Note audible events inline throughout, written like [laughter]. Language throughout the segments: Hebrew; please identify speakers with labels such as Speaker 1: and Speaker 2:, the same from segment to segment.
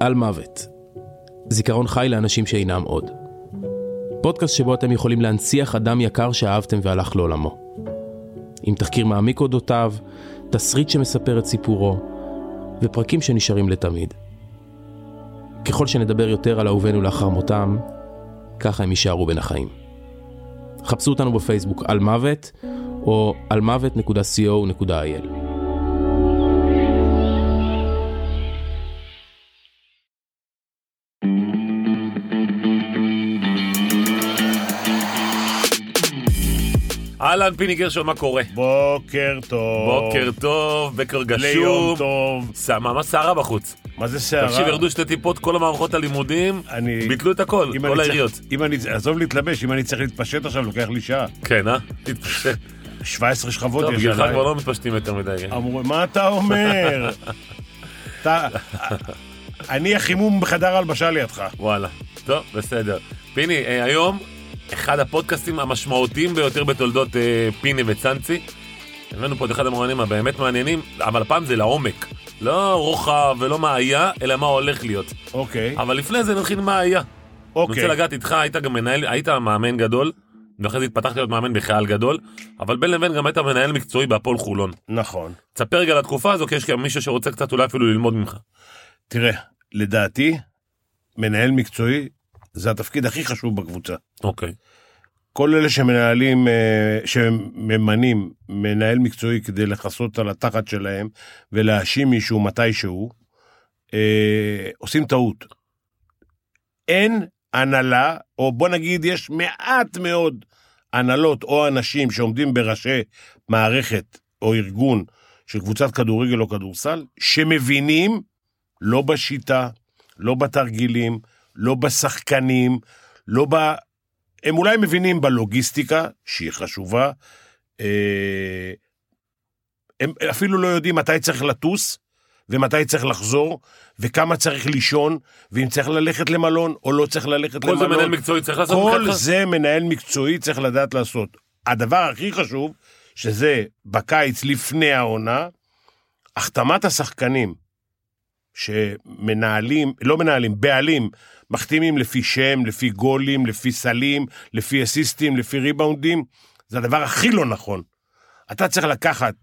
Speaker 1: על מוות. זיכרון חי לאנשים שאינם עוד. פודקאסט שבו אתם יכולים להנציח אדם יקר שאהבתם והלך לעולמו. עם תחקיר מעמיק אודותיו, תסריט שמספר את סיפורו, ופרקים שנשארים לתמיד. ככל שנדבר יותר על אהובינו לאחר מותם, ככה הם יישארו בין החיים. חפשו אותנו בפייסבוק על מוות, או על מוות.co.il.
Speaker 2: אהלן, פיני גרשון, מה קורה?
Speaker 3: בוקר טוב.
Speaker 2: בוקר טוב, בקר
Speaker 3: ליום
Speaker 2: גשום.
Speaker 3: טוב.
Speaker 2: שמה, מה סערה בחוץ?
Speaker 3: מה זה שערה?
Speaker 2: תקשיב, ירדו שתי טיפות, כל המערכות הלימודים,
Speaker 3: אני-
Speaker 2: ביטלו את הכל,
Speaker 3: אם
Speaker 2: כל
Speaker 3: אני
Speaker 2: העיריות.
Speaker 3: צריך- אם אני... עזוב להתלבש, אם אני צריך להתפשט עכשיו, לוקח לי שעה.
Speaker 2: כן, אה? תתפשט.
Speaker 3: 17 שכבות
Speaker 2: טוב,
Speaker 3: יש
Speaker 2: בגללך
Speaker 3: עליי.
Speaker 2: כבר לא מתפשטים יותר מדי.
Speaker 3: אמרו, מה אתה
Speaker 2: [laughs]
Speaker 3: אומר? אתה... אני החימום בחדר הלבשה לידך.
Speaker 2: וואלה. טוב, בסדר. פיני, אה, היום אחד הפודקאסטים המשמעותיים ביותר בתולדות אה, פיני וצאנצי. הבאנו פה את אחד המרואיינים הבאמת מעניינים, אבל הפעם זה לעומק. לא רוחב ולא מה היה, אלא מה הולך להיות.
Speaker 3: אוקיי,
Speaker 2: אבל לפני זה נתחיל מה היה. אני
Speaker 3: אוקיי.
Speaker 2: אה, רוצה לגעת איתך, היית גם מנהל, היית מאמן גדול, ואחרי זה התפתחת להיות מאמן בחייל גדול, אבל בין לבין גם היית מנהל מקצועי בהפועל חולון.
Speaker 3: נכון.
Speaker 2: תספר רגע על התקופה הזו, כי יש גם מישהו שרוצה קצת אולי אפילו ללמוד ממך.
Speaker 3: תראה, לדעתי, מנהל מקצועי זה התפקיד הכי חשוב בקבוצה.
Speaker 2: אוקיי.
Speaker 3: כל אלה שמנהלים, אה, שממנים מנהל מקצועי כדי לכסות על התחת שלהם ולהאשים מישהו מתישהו, אה, עושים טעות. אין הנהלה, או בוא נגיד יש מעט מאוד הנהלות או אנשים שעומדים בראשי מערכת או ארגון של קבוצת כדורגל או כדורסל, שמבינים לא בשיטה, לא בתרגילים, לא בשחקנים, לא ב... הם אולי מבינים בלוגיסטיקה, שהיא חשובה, אה, הם אפילו לא יודעים מתי צריך לטוס, ומתי צריך לחזור, וכמה צריך לישון, ואם צריך ללכת למלון או לא צריך ללכת
Speaker 2: כל
Speaker 3: למלון.
Speaker 2: זה מנהל מקצועי צריך לעשות
Speaker 3: כל
Speaker 2: מבחינתך?
Speaker 3: זה מנהל מקצועי צריך לדעת לעשות. הדבר הכי חשוב, שזה בקיץ לפני העונה, החתמת השחקנים שמנהלים, לא מנהלים, בעלים, מחתימים לפי שם, לפי גולים, לפי סלים, לפי אסיסטים, לפי ריבאונדים, זה הדבר הכי לא נכון. אתה צריך לקחת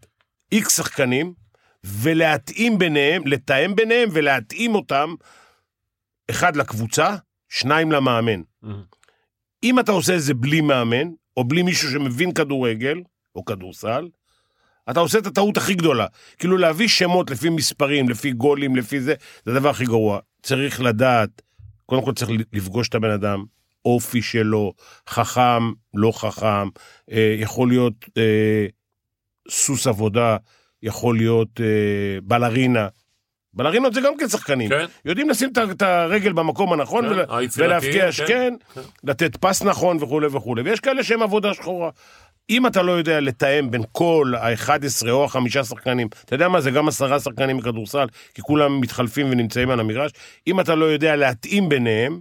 Speaker 3: איקס שחקנים ולהתאים ביניהם, לתאם ביניהם ולהתאים אותם, אחד לקבוצה, שניים למאמן. אם אתה עושה את זה בלי מאמן, או בלי מישהו שמבין כדורגל, או כדורסל, אתה עושה את הטעות הכי גדולה. כאילו להביא שמות לפי מספרים, לפי גולים, לפי זה, זה הדבר הכי גרוע. צריך לדעת, קודם כל צריך לפגוש את הבן אדם, אופי שלו, חכם, לא חכם, אה, יכול להיות אה, סוס עבודה, יכול להיות אה, בלרינה. בלרינות זה גם כן שחקנים.
Speaker 2: כן.
Speaker 3: יודעים לשים את ה- את הרגל במקום הנכון
Speaker 2: כן,
Speaker 3: ולה-
Speaker 2: היצירתיים,
Speaker 3: ולהבקיע,
Speaker 2: כן.
Speaker 3: כן, לתת פס נכון וכולי וכולי. ויש כאלה שהם עבודה שחורה. אם אתה לא יודע לתאם בין כל ה-11 או החמישה שחקנים, אתה יודע מה, זה גם עשרה שחקנים בכדורסל, כי כולם מתחלפים ונמצאים על המגרש, אם אתה לא יודע להתאים ביניהם,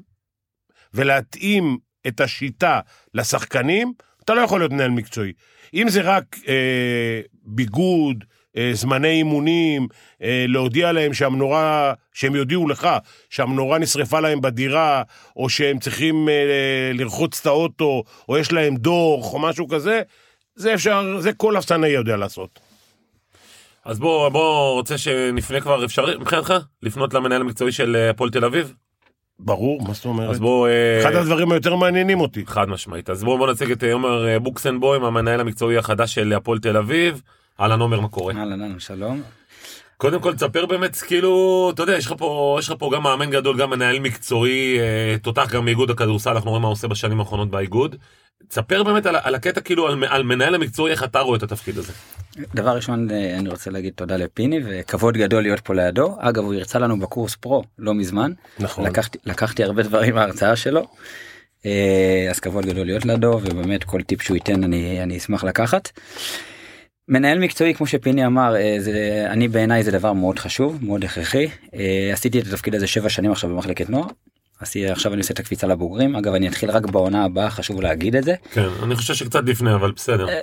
Speaker 3: ולהתאים את השיטה לשחקנים, אתה לא יכול להיות מנהל מקצועי. אם זה רק אה, ביגוד, אה, זמני אימונים, אה, להודיע להם שהמנורה, שהם יודיעו לך שהמנורה נשרפה להם בדירה, או שהם צריכים אה, לרחוץ את האוטו, או יש להם דוח, או משהו כזה, זה אפשר, זה כל אפסנאי יודע לעשות.
Speaker 2: אז בוא, בוא, רוצה שנפנה כבר, אפשר מבחינתך? לפנות למנהל המקצועי של אה, הפועל תל אביב?
Speaker 3: ברור, מה זאת אומרת?
Speaker 2: אז בוא... אה,
Speaker 3: אחד הדברים היותר מעניינים אותי.
Speaker 2: חד משמעית. אז בואו בוא נציג את אה, עומר אה, בוקסנבוים, המנהל המקצועי החדש של הפועל תל אביב. אהלן עומר, מה קורה?
Speaker 4: אהלן, אהלן, שלום.
Speaker 2: קודם כל תספר באמת כאילו אתה יודע יש לך פה יש לך פה גם מאמן גדול גם מנהל מקצועי אה, תותח גם מאיגוד הכדורסל אנחנו רואים מה הוא עושה בשנים האחרונות באיגוד. תספר באמת על, על הקטע כאילו על, על מנהל המקצועי איך אתה רואה את התפקיד הזה.
Speaker 4: דבר ראשון, אה, אני רוצה להגיד תודה לפיני, וכבוד גדול להיות פה לידו. אגב, הוא הרצה לנו בקורס פרו לא מזמן.
Speaker 3: נכון.
Speaker 4: לקחתי, לקחתי הרבה דברים מההרצאה שלו. אה, אז כבוד גדול להיות לידו, ובאמת כל טיפ שהוא ייתן אני, אני אשמח לקחת. מנהל מקצועי, כמו שפיני אמר, אה, זה, אני בעיניי זה דבר מאוד חשוב, מאוד הכרחי. אה, עשיתי את התפקיד הזה שבע שנים עכשיו במחלקת נוער. עשי, עכשיו אני עושה את הקפיצה לבוגרים. אגב, אני אתחיל רק בעונה הבאה, חשוב להגיד את זה.
Speaker 2: כן אני חושב שקצת לפני אבל בסדר.
Speaker 4: אה,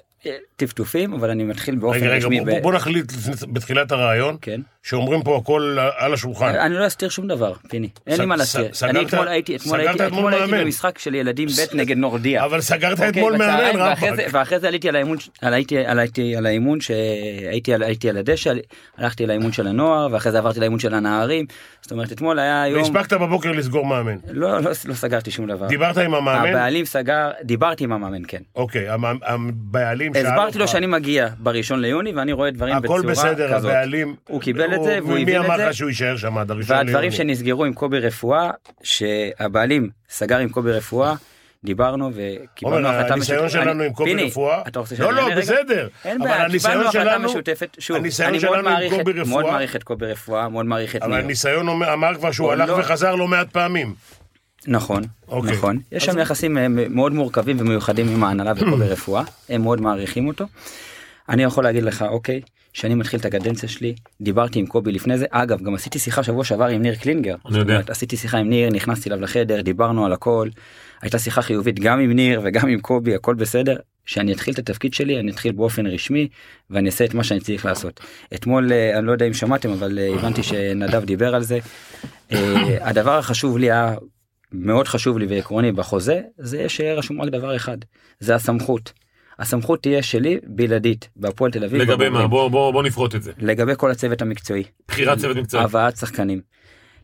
Speaker 4: טפטופים, אבל אני מתחיל באופן
Speaker 3: רגע, רגע,
Speaker 4: רשמי.
Speaker 3: בוא- בוא נחליט בתחילת הרעיון,
Speaker 4: כן.
Speaker 3: שאומרים פה הכל על השולחן.
Speaker 4: אני לא אסתיר שום דבר, פיני. אין
Speaker 3: אה. ס-
Speaker 4: לי מה
Speaker 3: ס-
Speaker 4: להסתיר.
Speaker 3: סגרת-
Speaker 4: אני אתמול הייתי, אתמול
Speaker 3: סגרת
Speaker 4: הייתי,
Speaker 3: אתמול
Speaker 4: אתמול הייתי
Speaker 3: מאמן.
Speaker 4: במשחק של ילדים ב' נגד נורדיה.
Speaker 3: אבל סגרת
Speaker 4: אוקיי,
Speaker 3: אתמול מאמן,
Speaker 4: בצהריים, ואחרי זה-
Speaker 3: רמפק.
Speaker 4: ואחרי זה עליתי על האימון, ש- על- הייתי- עליתי על האימון שהייתי על- הייתי על הדשא, על- הלכתי לאימון של הנוער, ואחרי זה עברתי לאימון של הנערים. זאת אומרת, אתמול היה יום...
Speaker 3: והספקת בבוקר לסגור מאמן.
Speaker 4: לא, לא לא סגרתי שום דבר.
Speaker 3: דיברת עם המאמן?
Speaker 4: הבעלים סגר, דיברתי עם המאמן, כן.
Speaker 3: אוקיי, המ- הבעלים שאל
Speaker 4: הסברתי לו
Speaker 3: אותך,
Speaker 4: שאני מגיע בראשון ליוני ואני רואה דברים
Speaker 3: הכל
Speaker 4: בצורה
Speaker 3: בסדר,
Speaker 4: כזאת.
Speaker 3: הבעלים...
Speaker 4: הוא קיבל את זה והוא
Speaker 3: מי
Speaker 4: הבין את
Speaker 3: אמר
Speaker 4: זה.
Speaker 3: לך שהוא יישאר שם עד הראשון ליוני?
Speaker 4: והדברים שנסגרו עם קובי רפואה, שהבעלים סגר עם קובי רפואה, דיברנו וקיבלנו
Speaker 3: עומר,
Speaker 4: החלטה
Speaker 3: הניסיון
Speaker 4: משותפת-
Speaker 3: שלנו
Speaker 4: אני-
Speaker 3: עם קובי
Speaker 4: פיני,
Speaker 3: רפואה...
Speaker 4: אתה רוצה שאני
Speaker 3: לא,
Speaker 4: אענה
Speaker 3: לא,
Speaker 4: רגע?
Speaker 3: בסדר.
Speaker 4: אין
Speaker 3: אבל
Speaker 4: בעיה,
Speaker 3: הניסיון
Speaker 4: קיבלנו החלטה
Speaker 3: שלנו-
Speaker 4: משותפת, שוב,
Speaker 3: הניסיון
Speaker 4: אני
Speaker 3: שלנו
Speaker 4: מאוד
Speaker 3: עם
Speaker 4: מעריך,
Speaker 3: קובי
Speaker 4: את- מאוד
Speaker 3: רפואה-
Speaker 4: מעריך את קובי רפואה, מאוד מעריך את
Speaker 3: אבל
Speaker 4: ניר.
Speaker 3: הניסיון אומר- אמר כבר שהוא
Speaker 4: או
Speaker 3: הלך
Speaker 4: לא.
Speaker 3: וחזר לא מעט פעמים.
Speaker 4: נכון,
Speaker 3: אוקיי.
Speaker 4: נכון. יש שם יחסים אה, מאוד מורכבים ומיוחדים עם ההנהלה וקובי רפואה, הם מאוד מעריכים אותו. אני יכול להגיד לך, אוקיי, שאני מתחיל את הקדנציה שלי, דיברתי עם קובי לפני זה, אגב, גם עשיתי שיחה שבוע שעבר עם ניר קלינגר. זאת
Speaker 2: יודע.
Speaker 4: אומרת, עשיתי שיחה עם ניר, נכנסתי אליו לחדר, דיברנו על הכל, הייתה שיחה חיובית גם עם ניר וגם עם קובי, הכל בסדר. שאני אתחיל את התפקיד שלי, אני אתחיל באופן רשמי, ואני אעשה את מה שאני צריך לעשות. אתמול, אה, אני לא יודע אם שמעתם, אבל אה, הבנתי שנדב דיבר על זה. אה, הדבר החשוב לי היה מאוד חשוב לי ועקרוני בחוזה זה שיהיה רשום רק דבר אחד זה הסמכות. הסמכות תהיה שלי בלעדית בהפועל תל אביב.
Speaker 2: לגבי
Speaker 4: בבוגרים.
Speaker 2: מה? בוא- בוא בוא נפרוט את זה.
Speaker 4: לגבי כל הצוות המקצועי.
Speaker 2: בחירת צוות מקצועי.
Speaker 4: הבאת שחקנים.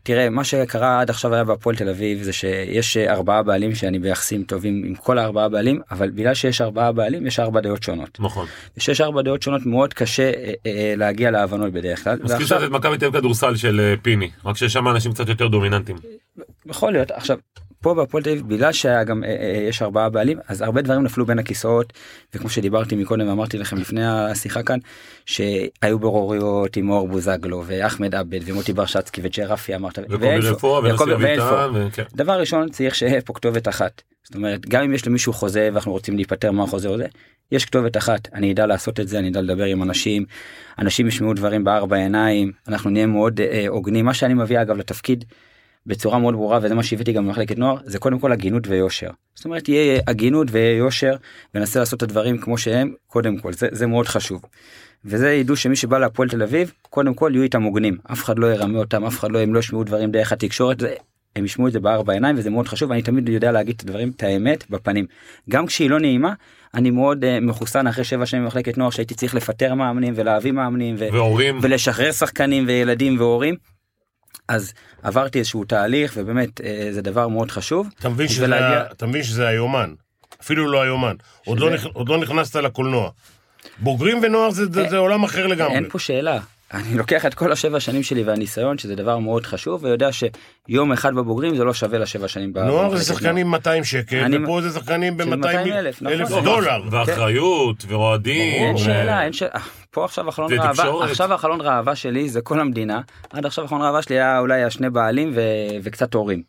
Speaker 4: תראה מה שקרה עד עכשיו היה בהפועל תל אביב זה שיש אה, ארבעה בעלים שאני ביחסים טובים עם כל הארבעה בעלים אבל בגלל שיש ארבעה בעלים יש ארבע דעות שונות.
Speaker 2: נכון.
Speaker 4: כשיש ארבע דעות שונות מאוד קשה אה, אה, להגיע להבנות בדרך כלל.
Speaker 2: מזכיר
Speaker 4: ועכשיו-
Speaker 2: קצת את מכבי תל אביב כדורסל של אה, פיני, רק ששם אנשים קצת יותר דומיננטיים.
Speaker 4: יכול להיות עכשיו פה בהפועל תל אביב בגלל שהיה גם אה, אה, יש ארבעה בעלים אז הרבה דברים נפלו בין הכיסאות וכמו שדיברתי מקודם ואמרתי לכם לפני השיחה כאן שהיו בוררויות עם אור בוזגלו ואחמד עבד ומוטי ברשצקי וג'רפי אמרת
Speaker 2: וקובי
Speaker 4: ואלפו,
Speaker 2: רפואה ונשיא
Speaker 4: וקובי- ואלפו.
Speaker 2: אביטן. כן. וכן.
Speaker 4: דבר ראשון צריך שיהיה פה כתובת אחת זאת אומרת גם אם יש למישהו חוזה ואנחנו רוצים להיפטר מהחוזה הזה יש כתובת אחת אני אדע לעשות את זה אני אדע לדבר עם אנשים אנשים ישמעו דברים בארבע עיניים אנחנו נהיה מאוד אה, הוגנים מה שאני מביא אגב לתפקיד בצורה מאוד ברורה וזה מה שהבאתי גם למחלקת נוער זה קודם כל הגינות ויושר זאת אומרת יהיה הגינות ויושר וננסה לעשות את הדברים כמו שהם קודם כל זה, זה מאוד חשוב. וזה ידעו שמי שבא להפועל תל אביב קודם כל יהיו איתם הוגנים אף אחד לא ירמה אותם אף אחד לא הם לא ישמעו דברים דרך התקשורת זה, הם ישמעו את זה בארבע עיניים וזה מאוד חשוב אני תמיד יודע להגיד את הדברים את האמת בפנים גם כשהיא לא נעימה אני מאוד uh, מחוסן אחרי שבע שנים במחלקת נוער שהייתי צריך לפטר מאמנים ולהביא מאמנים ו-
Speaker 2: והורים.
Speaker 4: ולשחרר שחקנים וילדים והורים. אז עברתי איזשהו תהליך ובאמת אה, זה דבר מאוד חשוב.
Speaker 3: אתה מבין
Speaker 4: בשביל
Speaker 3: שזה
Speaker 4: להגיע-
Speaker 3: ה- אתה מבין שזה היומן. אפילו לא היומן. עוד לא
Speaker 4: שזה-
Speaker 3: נכ- עוד לא נכנסת לקולנוע. בוגרים ונוער זה- זה זה עולם אחר לגמרי.
Speaker 4: אה, אין פה שאלה. אני לוקח את כל השבע שנים שלי והניסיון שזה דבר מאוד חשוב ויודע שיום אחד בבוגרים זה לא שווה לשבע שנים.
Speaker 3: נוער
Speaker 4: במחלקת
Speaker 3: זה שחקנים 200 שקל,
Speaker 4: אה, אני-
Speaker 3: ופה זה שחקנים
Speaker 4: של
Speaker 3: ב-200
Speaker 4: 200,000, נכון.
Speaker 3: אלף
Speaker 4: לא,
Speaker 3: דולר.
Speaker 2: ואחריות, ואוהדים.
Speaker 4: אין
Speaker 2: ו-
Speaker 4: שאלה, אין שאלה. פה עכשיו החלון
Speaker 2: זה
Speaker 4: ראווה,
Speaker 2: תקשורת.
Speaker 4: עכשיו החלון ראווה שלי זה כל המדינה, עד עכשיו החלון ראווה שלי היה אולי השני בעלים ו... וקצת הורים.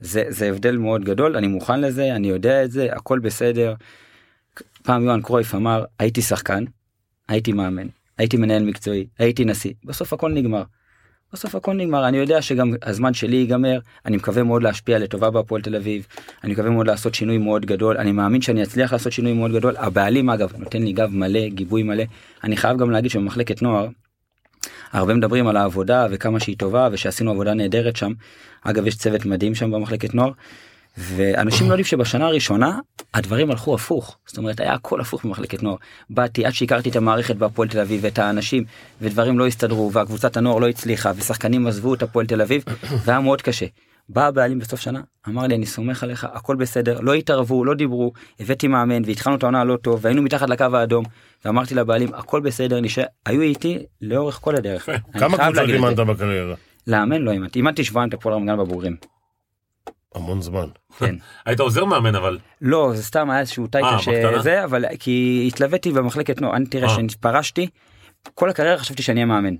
Speaker 4: זה, זה הבדל מאוד גדול, אני מוכן לזה, אני יודע את זה, הכל בסדר. פעם יוהאן קרויף אמר, הייתי שחקן, הייתי מאמן, הייתי מנהל מקצועי, הייתי נשיא, בסוף הכל נגמר. בסוף הכל נגמר, אני יודע שגם הזמן שלי ייגמר, אני מקווה מאוד להשפיע לטובה בהפועל תל אביב, אני מקווה מאוד לעשות שינוי מאוד גדול, אני מאמין שאני אצליח לעשות שינוי מאוד גדול, הבעלים אגב נותן לי גב מלא, גיבוי מלא, אני חייב גם להגיד שבמחלקת נוער, הרבה מדברים על העבודה וכמה שהיא טובה ושעשינו עבודה נהדרת שם, אגב יש צוות מדהים שם במחלקת נוער, ואנשים לא יודעים שבשנה הראשונה הדברים הלכו הפוך זאת אומרת היה הכל הפוך במחלקת נוער באתי עד שהכרתי את המערכת בהפועל תל אביב ואת האנשים ודברים לא הסתדרו והקבוצת הנוער לא הצליחה ושחקנים עזבו את הפועל תל אביב [coughs] והיה מאוד קשה. בא הבעלים בסוף שנה אמר לי אני סומך עליך הכל בסדר לא התערבו לא דיברו הבאתי מאמן והתחלנו את העונה לא טוב והיינו מתחת לקו האדום ואמרתי לבעלים הכל בסדר נשאר היו איתי לאורך כל הדרך. אני
Speaker 3: כמה
Speaker 4: חייב
Speaker 3: קבוצות
Speaker 4: להגיד את זה.
Speaker 3: לימדת בקריירה?
Speaker 4: לאמן לא אימנתי אימנתי שבועיים את הפועל רמת גן
Speaker 3: [laughs]
Speaker 4: בבוגרים.
Speaker 3: המון זמן.
Speaker 4: כן.
Speaker 2: היית עוזר מאמן אבל.
Speaker 4: לא זה סתם היה איזשהו טייטל
Speaker 2: אה, בקטנה?
Speaker 4: שזה אבל כי התלוויתי במחלקת נוער אני תראה
Speaker 2: אה.
Speaker 4: שפרשתי כל הקריירה חשבתי שאני אהיה מאמן.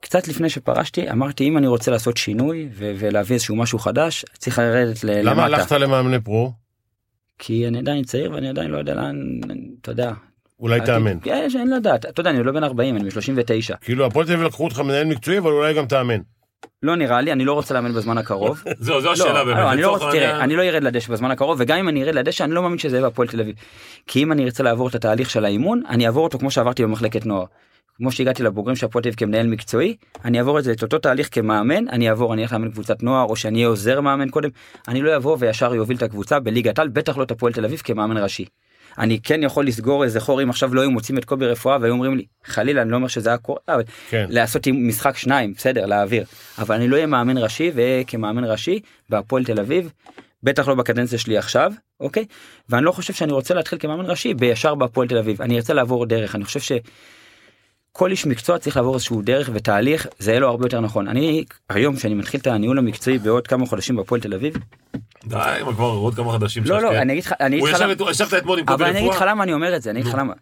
Speaker 4: קצת לפני שפרשתי אמרתי אם אני רוצה לעשות שינוי ו- ולהביא איזשהו משהו חדש צריך לרדת ל- למטה.
Speaker 3: למה הלכת למאמני פרו?
Speaker 4: כי אני עדיין צעיר ואני עדיין לא יודע לאן אתה יודע. אה,
Speaker 3: אולי תאמן.
Speaker 4: עתיד- יש, אין לדעת אתה יודע אני לא בן 40 אני בן 39
Speaker 3: כאילו הפועל תל אביב לקחו אותך מנהל מקצועי, אבל אולי גם תאמן.
Speaker 4: לא נראה לי, אני לא רוצה לאמן בזמן הקרוב.
Speaker 2: [laughs] זהו, זו
Speaker 4: לא,
Speaker 2: השאלה באמת.
Speaker 4: לא, אני לא
Speaker 2: לצורך
Speaker 4: רוצה, תראה,
Speaker 2: העניין-
Speaker 4: אני לא ארד לדשא בזמן הקרוב, וגם אם אני ארד לדשא, אני לא מאמין שזה יהיה בהפועל תל אביב. כי אם אני ארצה לעבור את התהליך של האימון, אני אעבור אותו כמו שעברתי במחלקת נוער. כמו שהגעתי לבוגרים של הפועל תל אביב כמנהל מקצועי, אני אעבור את זה, את אותו תהליך כמאמן, אני אעבור, אני אלך לאמן קבוצת נוער, או שאני אהיה עוזר מאמן קודם, אני לא אבוא וישר יוביל את הקבוצה בליגת על, בטח לא את הפועל תל אביב כמאמן ראשי. אני כן יכול לסגור איזה חור אם עכשיו לא היו מוצאים את קובי רפואה והיו אומרים לי חלילה אני לא אומר שזה היה קורה אבל
Speaker 3: כן.
Speaker 4: לעשות עם משחק שניים בסדר להעביר אבל אני לא אהיה מאמן ראשי וכמאמן ראשי בהפועל תל אביב בטח לא בקדנציה שלי עכשיו אוקיי ואני לא חושב שאני רוצה להתחיל כמאמן ראשי בישר בהפועל תל אביב אני ארצה לעבור דרך אני חושב ש... כל איש מקצוע צריך לעבור איזשהו דרך ותהליך זה יהיה לו הרבה יותר נכון אני היום שאני מתחיל את הניהול המקצועי בעוד כמה חודשים בהפועל תל אביב
Speaker 2: די, מה כבר עוד כמה חדשים
Speaker 4: לא
Speaker 2: שיש,
Speaker 4: לא
Speaker 2: כן?
Speaker 4: אני אגיד לך אני
Speaker 2: הוא
Speaker 4: אגיד לך
Speaker 2: ישב
Speaker 4: למה-
Speaker 2: את- הוא ישבת אתמול עם קובי
Speaker 4: אבל אני אגיד לך
Speaker 2: רפואה.
Speaker 4: למה אני אומר את זה, אני אגיד לך למה.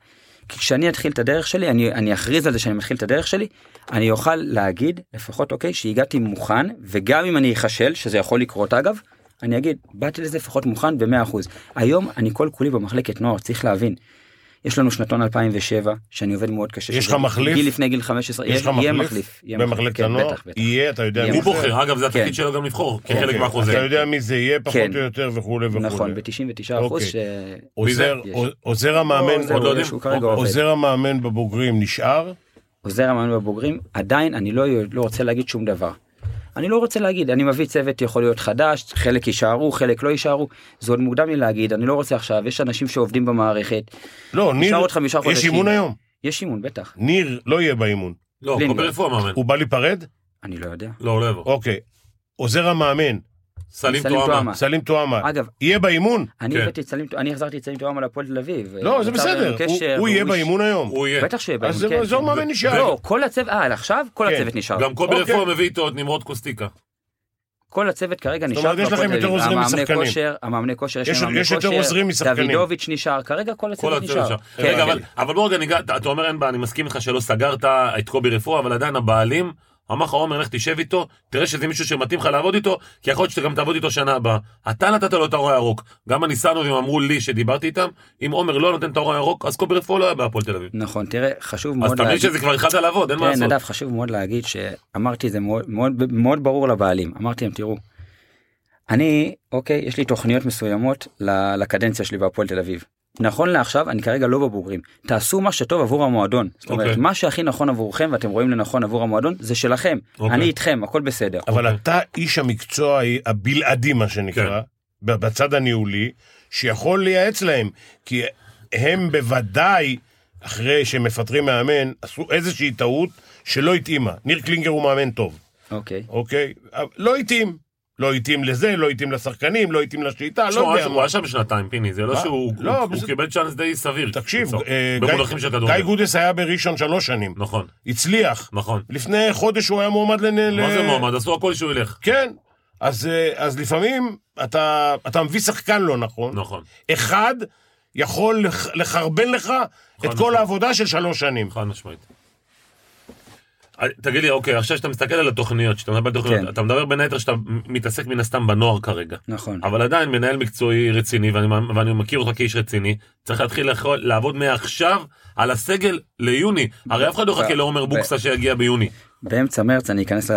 Speaker 4: כי כשאני אתחיל את הדרך שלי, אני, אני אכריז על זה שאני מתחיל את הדרך שלי, אני אוכל להגיד, לפחות אוקיי, שהגעתי מוכן, וגם אם אני אחשל, שזה יכול לקרות אגב, אני אגיד, באתי לזה לפחות מוכן ב-100%. היום אני כל כולי במחלקת נוער, צריך להבין. יש לנו שנתון 2007, שאני עובד מאוד קשה.
Speaker 3: יש
Speaker 4: שזה
Speaker 3: לך מחליף?
Speaker 4: גיל לפני גיל 15.
Speaker 3: יש לך
Speaker 4: יהיה
Speaker 3: מחליף?
Speaker 4: יהיה
Speaker 3: במחלקת
Speaker 4: כן,
Speaker 3: הנוער?
Speaker 4: בטח, בטח.
Speaker 3: יהיה, אתה יודע
Speaker 4: יהיה
Speaker 3: מי
Speaker 2: הוא
Speaker 4: מחליף.
Speaker 3: זה?
Speaker 2: בוחר, אגב, זה התפקיד
Speaker 4: כן.
Speaker 2: שלו גם לבחור, כחלק
Speaker 3: אוקיי. אתה
Speaker 2: מהחוזה.
Speaker 3: יודע מי זה יהיה, פחות
Speaker 4: כן.
Speaker 3: או יותר, וכולי וכולי.
Speaker 4: נכון, ב-99 אחוז.
Speaker 3: אוקיי.
Speaker 4: ש...
Speaker 3: עוזר-
Speaker 4: יש.
Speaker 3: עוזר המאמן,
Speaker 4: עוזר,
Speaker 2: עוד לא יודעים.
Speaker 4: שהוא כרגע עובד.
Speaker 3: עוזר המאמן בבוגרים נשאר?
Speaker 4: עוזר המאמן בבוגרים, עדיין אני לא, לא רוצה להגיד שום דבר. אני לא רוצה להגיד, אני מביא צוות יכול להיות חדש, חלק יישארו, חלק לא יישארו, זה עוד מוקדם לי להגיד, אני לא רוצה עכשיו, יש אנשים שעובדים במערכת,
Speaker 3: לא, ניר,
Speaker 4: עוד חמישה
Speaker 3: יש
Speaker 4: חודשים.
Speaker 3: אימון היום.
Speaker 4: יש אימון בטח,
Speaker 3: ניר לא יהיה באימון.
Speaker 2: לא,
Speaker 4: לינגר.
Speaker 2: קובי רפואה מאמן.
Speaker 3: הוא בא להיפרד?
Speaker 4: אני לא יודע.
Speaker 2: לא, הוא לא יבוא.
Speaker 3: אוקיי. עוזר המאמן,
Speaker 2: סלים
Speaker 4: סלים
Speaker 2: טועמה.
Speaker 4: טועמה.
Speaker 3: סלים טועמה,
Speaker 4: אגב,
Speaker 3: יהיה באימון?
Speaker 4: אני
Speaker 2: כן.
Speaker 4: הבאתי את סלים, אני החזרתי את סלים תואם על הפועל תל אביב.
Speaker 3: לא, זה
Speaker 4: נוצר
Speaker 3: בסדר.
Speaker 4: אה, לנו
Speaker 3: הוא-
Speaker 4: קשר,
Speaker 3: הוא יהיה
Speaker 4: איש-
Speaker 3: באימון היום.
Speaker 2: הוא יהיה.
Speaker 4: בטח שיהיה באימון,
Speaker 3: אז זה-
Speaker 4: כן.
Speaker 3: זה
Speaker 4: כן.
Speaker 3: המאמן נשאר.
Speaker 4: לא, כל הצוות, אה, עכשיו? כל
Speaker 3: כן.
Speaker 4: הצוות נשאר.
Speaker 2: גם קובי
Speaker 3: אוקיי.
Speaker 2: רפואה מביא איתו את נמרוד קוסטיקה.
Speaker 4: כל הצוות כרגע
Speaker 3: זאת
Speaker 4: נשאר.
Speaker 3: אומרת, יש
Speaker 4: בהפועל
Speaker 3: לכם
Speaker 4: תל
Speaker 3: יותר
Speaker 4: אביב.
Speaker 3: עוזרים
Speaker 4: המאמני
Speaker 3: משחקנים.
Speaker 4: כושר, המאמני כושר, יש
Speaker 3: יש-
Speaker 4: להם מאמני
Speaker 3: יש יותר
Speaker 4: כושר,
Speaker 3: עוזרים משחקנים.
Speaker 4: דוידוביץ' נשאר, כרגע כל
Speaker 2: כל
Speaker 4: הצוות
Speaker 2: הצוות
Speaker 4: נשאר.
Speaker 2: שם.
Speaker 4: כן,
Speaker 2: רגע,
Speaker 4: כן.
Speaker 2: אבל- אבל בוא רגע, ניגע- אתה אתה אומר אין בעיה, אני מסכים איתך שלא סגרת את קובי רפואה, אבל עדיין הבעלים, אמר לך עומר, לך תשב איתו, תראה שזה מישהו שמתאים לך לעבוד איתו, כי יכול להיות שאתה גם תעבוד איתו שנה הבאה. אתה נתת לו את האור הירוק. גם הניסנובים אמרו לי שדיברתי איתם, אם עומר לא נותן את האור הירוק, אז קובי רפואה לא היה בהפועל תל אביב.
Speaker 4: נכון, תראה, חשוב
Speaker 2: אז
Speaker 4: מאוד
Speaker 2: תמיד
Speaker 4: להגיד,
Speaker 2: שזה כבר התחלת לעבוד, אין מה
Speaker 4: תראה,
Speaker 2: לעשות.
Speaker 4: נדב, חשוב מאוד להגיד שאמרתי את זה מאוד, מאוד, מאוד ברור לבעלים, אמרתי להם, תראו, אני, אוקיי, יש לי תוכניות מסוימות ל- לקדנציה שלי בהפועל תל אביב. נכון לעכשיו, אני כרגע לא בבוגרים, תעשו מה שטוב עבור המועדון. זאת אומרת,
Speaker 2: אוקיי.
Speaker 4: מה שהכי נכון עבורכם ואתם רואים לנכון עבור המועדון, זה שלכם,
Speaker 2: אוקיי.
Speaker 4: אני איתכם, הכל בסדר.
Speaker 3: אבל אתה איש המקצוע הבלעדי, מה שנקרא,
Speaker 4: כן.
Speaker 3: ב- בצד הניהולי, שיכול לייעץ להם, כי הם בוודאי, אחרי שמפטרים מאמן, עשו איזושהי טעות שלא התאימה. ניר קלינגר הוא מאמן טוב,
Speaker 4: אוקיי.
Speaker 3: אוקיי? אבל לא התאים. לא התאים לזה, לא התאים לשחקנים, לא התאים לשיטה,
Speaker 2: תשמע,
Speaker 3: לא
Speaker 2: הוא היה-
Speaker 3: יודע
Speaker 2: הוא
Speaker 3: מה.
Speaker 2: היה שם שנתיים, פיני, זה לא
Speaker 3: מה?
Speaker 2: שהוא
Speaker 3: לא,
Speaker 2: הוא- הוא
Speaker 3: בסדר.
Speaker 2: קיבל צ'אנס די סביר.
Speaker 3: תקשיב,
Speaker 2: בקיצור.
Speaker 3: אה,
Speaker 2: במונחים של
Speaker 3: גיא-
Speaker 2: כדורגל.
Speaker 3: גיא גודס היה בראשון שלוש שנים,
Speaker 2: נכון,
Speaker 3: הצליח.
Speaker 2: נכון.
Speaker 3: לפני חודש הוא היה מועמד לנ...
Speaker 2: מה זה
Speaker 3: ל-
Speaker 2: מועמד? עשו הכל שהוא ילך.
Speaker 3: כן. אז, אה, אז לפעמים אתה, אתה מביא שחקן לא נכון.
Speaker 2: נכון,
Speaker 3: אחד יכול לח- לחרבן לך את
Speaker 2: נכון.
Speaker 3: כל העבודה של שלוש שנים.
Speaker 2: חד משמעית. אה, תגיד לי, אוקיי, עכשיו שאתה מסתכל על התוכניות, שאתה מדבר על תוכניות,
Speaker 4: כן.
Speaker 2: אתה מדבר בין היתר שאתה מתעסק מן הסתם בנוער כרגע.
Speaker 4: נכון.
Speaker 2: אבל עדיין מנהל מקצועי רציני, ואני, מאמ- ואני מכיר אותך כאיש רציני, צריך להתחיל לאכול- לעבוד מעכשיו על הסגל ליוני. הרי אף אחד לא
Speaker 4: ב-
Speaker 2: יחכה לעומר
Speaker 4: ב-
Speaker 2: בוקסה שיגיע ביוני.
Speaker 4: באמצע מרץ אני אכנס ל...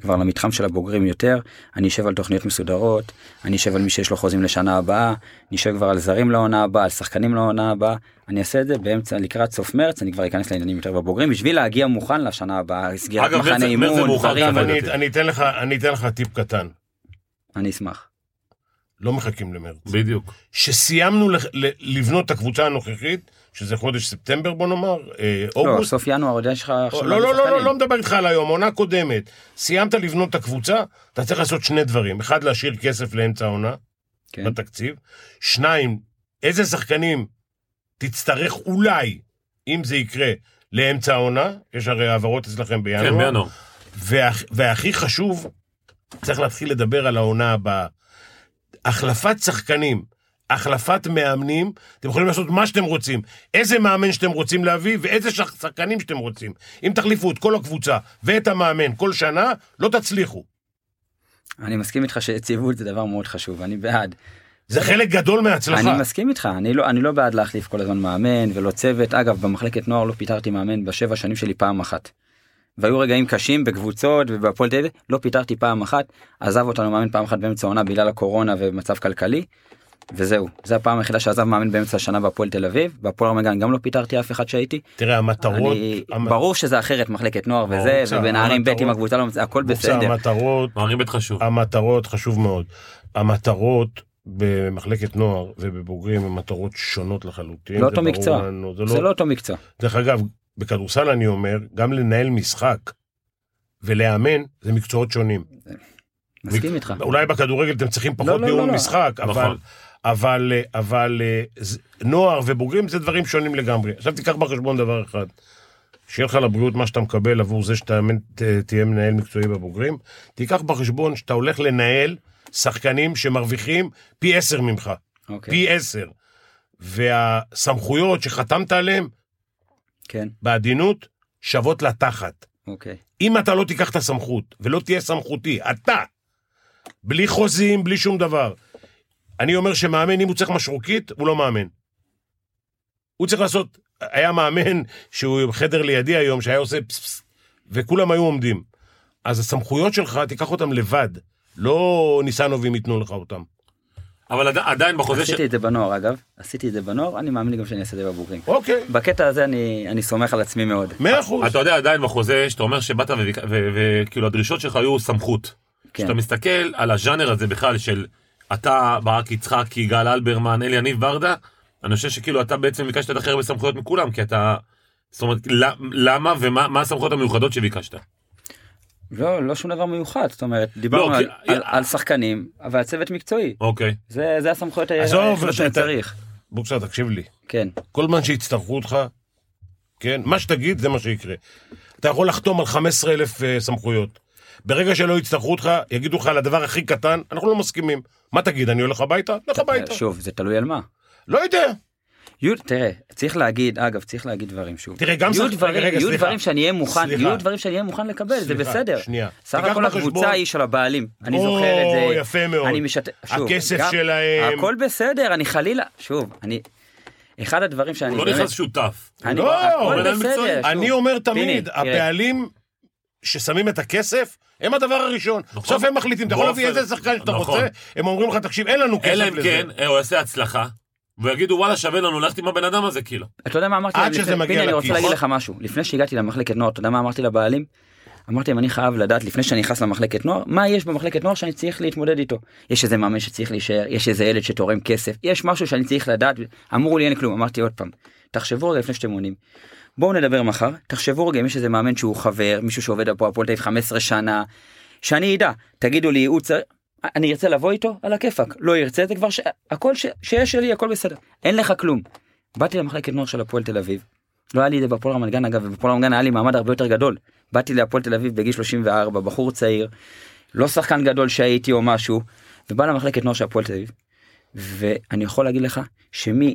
Speaker 4: כבר למתחם של הבוגרים יותר, אני אשב על תוכניות מסודרות, אני אשב על מי שיש לו חוזים לשנה הבאה, אני אשב כבר על זרים לעונה הבאה, על שחקנים לעונה הבאה, אני אעשה את זה באמצע, לקראת סוף מרץ, אני כבר אכנס לעניינים יותר בבוגרים, בשביל להגיע מוכן לשנה הבאה, סגירת
Speaker 2: אגב, מרץ-
Speaker 4: מחנה
Speaker 2: מרץ זה
Speaker 4: אימון,
Speaker 2: מאוחר,
Speaker 4: דברים,
Speaker 2: אבל-
Speaker 3: אני, אני, אתן לך, אני אתן לך טיפ קטן,
Speaker 4: אני אשמח.
Speaker 3: לא מחכים למרץ.
Speaker 2: בדיוק.
Speaker 3: כשסיימנו לח- ל- לבנות את הקבוצה הנוכחית, שזה חודש ספטמבר בוא נאמר, אה,
Speaker 4: לא,
Speaker 3: אוגוסט,
Speaker 4: סוף ינואר, עוד יש לך עכשיו...
Speaker 3: לא, לא, לא,
Speaker 4: שחקנים.
Speaker 3: לא, לא מדבר איתך על היום, עונה קודמת. סיימת לבנות את הקבוצה, אתה צריך לעשות שני דברים. אחד, להשאיר כסף לאמצע העונה לא.
Speaker 4: כן.
Speaker 3: בתקציב. שניים, איזה שחקנים תצטרך אולי, אם זה יקרה, לאמצע העונה? יש הרי העברות אצלכם בינואר.
Speaker 2: כן, בינואר.
Speaker 3: והכ- והכי חשוב, צריך להתחיל לדבר על העונה הבאה. החלפת שחקנים, החלפת מאמנים, אתם יכולים לעשות מה שאתם רוצים. איזה מאמן שאתם רוצים להביא ואיזה שח- שחקנים שאתם רוצים. אם תחליפו את כל הקבוצה ואת המאמן כל שנה, לא תצליחו.
Speaker 4: אני מסכים איתך שיציבות זה דבר מאוד חשוב, אני בעד.
Speaker 3: זה חלק גדול מההצלחה.
Speaker 4: אני מסכים איתך, אני לא, אני לא בעד להחליף כל הזמן מאמן ולא צוות. אגב, במחלקת נוער לא פיטרתי מאמן בשבע שנים שלי פעם אחת. והיו רגעים קשים בקבוצות ובהפועל תל אביב, לא פיטרתי פעם אחת, עזב אותנו מאמן פעם אחת באמצע העונה בגלל הקורונה ומצב כלכלי, וזהו, זו הפעם היחידה שעזב מאמן באמצע השנה בהפועל תל אביב, בהפועל רמת גן גם לא פיטרתי אף אחד שהייתי.
Speaker 3: תראה, המטרות...
Speaker 4: אני,
Speaker 3: המ-
Speaker 4: ברור שזה אחרת מחלקת נוער
Speaker 3: ברור,
Speaker 4: וזה,
Speaker 3: בסדר,
Speaker 4: ובנערים ב'
Speaker 3: המטרות-
Speaker 4: עם הקבוצה לא מצ- הכל
Speaker 3: בוצע,
Speaker 4: בסדר.
Speaker 3: המטרות,
Speaker 2: מערים בית חשוב.
Speaker 3: המטרות, חשוב מאוד. המטרות במחלקת נוער ובבוגרים הן מטרות שונות לחלוטין.
Speaker 4: לא
Speaker 3: זה
Speaker 4: אותו
Speaker 3: ברור
Speaker 4: מקצוע.
Speaker 3: לנו,
Speaker 4: זה לא אותו מקצוע.
Speaker 3: דרך אגב, בכדורסל אני אומר, גם לנהל משחק ולאמן זה מקצועות שונים.
Speaker 4: מסכים איתך.
Speaker 3: אולי בכדורגל אתם צריכים פחות
Speaker 4: לא, לא,
Speaker 3: ניהול
Speaker 4: לא.
Speaker 3: משחק, אבל...
Speaker 2: נכון.
Speaker 3: אבל, אה, אבל אה, ז- נוער ובוגרים זה דברים שונים לגמרי. עכשיו תיקח בחשבון דבר אחד, שיהיה לך לבריאות מה שאתה מקבל עבור זה שאתה מאמן- ת- תהיה מנהל מקצועי בבוגרים, תיקח בחשבון שאתה הולך לנהל שחקנים שמרוויחים פי עשר ממך.
Speaker 4: אוקיי,
Speaker 3: פי עשר. והסמכויות שחתמת עליהן,
Speaker 4: כן,
Speaker 3: בעדינות, שוות לתחת.
Speaker 4: אוקיי.
Speaker 3: אם אתה לא תיקח את הסמכות, ולא תהיה סמכותי, אתה, בלי חוזים, בלי שום דבר, אני אומר שמאמן, אם הוא צריך משרוקית, הוא לא מאמן. הוא צריך לעשות, היה מאמן שהוא חדר לידי היום, שהיה עושה פס פס, וכולם היו עומדים. אז הסמכויות שלך, תיקח אותם לבד, לא ניסנובים ייתנו לך אותם.
Speaker 2: אבל עדי- עדיין בחוזה ש...
Speaker 4: עשיתי את זה בנוער אגב, עשיתי את זה בנוער, אני מאמין לי גם שאני אעשה את זה בבוגרים.
Speaker 3: אוקיי,
Speaker 4: בקטע הזה אני אני סומך על עצמי מאוד.
Speaker 3: מאה אחוז.
Speaker 2: אתה יודע עדיין בחוזה שאתה אומר שבאת וביקע- ו- וכאילו הדרישות שלך היו סמכות.
Speaker 4: כן.
Speaker 2: כשאתה מסתכל על הז'אנר הזה בכלל של אתה, ברק יצחקי, יגאל אלברמן, אלי יניב ברדה, אני חושב שכאילו אתה בעצם ביקשת את הכי הרבה סמכויות מכולם, כי אתה... זאת אומרת, ל- למה ומה מה הסמכויות המיוחדות שביקשת?
Speaker 4: לא, לא שום דבר מיוחד, זאת אומרת,
Speaker 3: לא,
Speaker 4: דיברנו
Speaker 2: כי-
Speaker 4: על, על, על שחקנים, אבל הצוות מקצועי.
Speaker 2: אוקיי.
Speaker 4: זה, זה הסמכויות ה-
Speaker 3: עזוב,
Speaker 4: היחידות שאני
Speaker 3: אתה-
Speaker 4: צריך.
Speaker 3: בוקסה, תקשיב לי.
Speaker 4: כן,
Speaker 3: כל זמן שיצטרכו אותך, כן, מה שתגיד זה מה שיקרה. אתה יכול לחתום על 15,000 אה, סמכויות. ברגע שלא יצטרכו אותך, יגידו לך על הדבר הכי קטן, אנחנו לא מסכימים. מה תגיד, אני הולך הביתה? לך הביתה.
Speaker 4: שוב, זה תלוי על מה.
Speaker 3: לא יודע.
Speaker 4: יהיו, תראה, צריך להגיד, אגב, צריך להגיד דברים שוב.
Speaker 3: תראה, גם
Speaker 4: יהיו
Speaker 3: שחק-
Speaker 4: דברים,
Speaker 3: רגע, רגע,
Speaker 4: יהיו
Speaker 3: סליחה.
Speaker 4: דברים שאני אהיה מוכן,
Speaker 3: סליחה.
Speaker 4: יהיו דברים שאני אהיה מוכן לקבל, זה
Speaker 3: סליחה,
Speaker 4: בסדר.
Speaker 3: שנייה.
Speaker 4: סך
Speaker 3: תיקח
Speaker 4: הכל
Speaker 3: בחשבון-
Speaker 4: הקבוצה היא של הבעלים, אני
Speaker 3: או,
Speaker 4: זוכר את זה.
Speaker 3: יפה מאוד.
Speaker 4: אני משת... שוב,
Speaker 3: הכסף
Speaker 4: גם-
Speaker 3: שלהם.
Speaker 4: הכל בסדר, אני חלילה, שוב, אני... אחד הדברים שאני...
Speaker 2: הוא לא
Speaker 4: באמת-
Speaker 2: נכנס שותף.
Speaker 4: אני-
Speaker 3: לא,
Speaker 4: הכל
Speaker 2: אבל אני
Speaker 4: בסדר,
Speaker 2: מקצועי.
Speaker 4: שוב.
Speaker 3: אני אומר
Speaker 4: פיני,
Speaker 3: תמיד,
Speaker 4: תראה,
Speaker 3: הבעלים ששמים את הכסף, הם הדבר הראשון.
Speaker 2: נכון.
Speaker 3: בסוף הם מחליטים, אתה יכול להביא
Speaker 2: באופן-
Speaker 3: איזה שחקן שאתה
Speaker 2: נכון.
Speaker 3: רוצה, הם אומרים לך, תקשיב, אין לנו
Speaker 2: אלא
Speaker 3: כסף
Speaker 2: אם
Speaker 3: לזה.
Speaker 2: כן, אה, הוא יעשה הצלחה, ויגידו וואלה שווה לנו ללכת עם הבן אדם הזה כאילו.
Speaker 4: אתה יודע מה אמרתי?
Speaker 3: עד
Speaker 4: להם
Speaker 3: שזה
Speaker 4: לפני-
Speaker 3: מגיע
Speaker 4: פיני, אני
Speaker 3: לכיס.
Speaker 4: רוצה להגיד לך משהו. לפני שהגעתי למחלקת נוער, אתה יודע מה אמרתי לבעלים? אמרתי להם, אני חייב לדעת לפני שאני נכנס למחלקת נוער, מה יש במחלקת נוער שאני צריך להתמודד איתו. יש איזה מאמן שצריך להישאר, יש איזה ילד שתורם כסף, יש משהו שאני צריך לדעת, אמרו לי אין לי כלום, אמרתי עוד פעם, תחשבו רגע לפני שאתם עונים. בואו נדבר מחר, תחשבו רגע אם יש איזה מאמן שהוא חבר, מישהו שעובד פה הפועל תל אביב 15 שנה, שאני אדע, תגידו לי, הוא צריך, אני ארצה לבוא איתו, על הכיפאק, לא ירצה, זה כבר ש... הכל ש... שיש שלי, הכל בסדר, אין לך כלום. באתי למחלקת נוער של הפועל תל אביב, לא היה לי את זה בהפועל רמת גן אגב, ובהפועל רמת גן היה לי מעמד הרבה יותר גדול. באתי להפועל תל אביב בגיל 34, בחור צעיר, לא שחקן גדול שהייתי או משהו, ובא למחלקת נוער של הפועל תל אביב. ואני יכול להגיד לך שמא'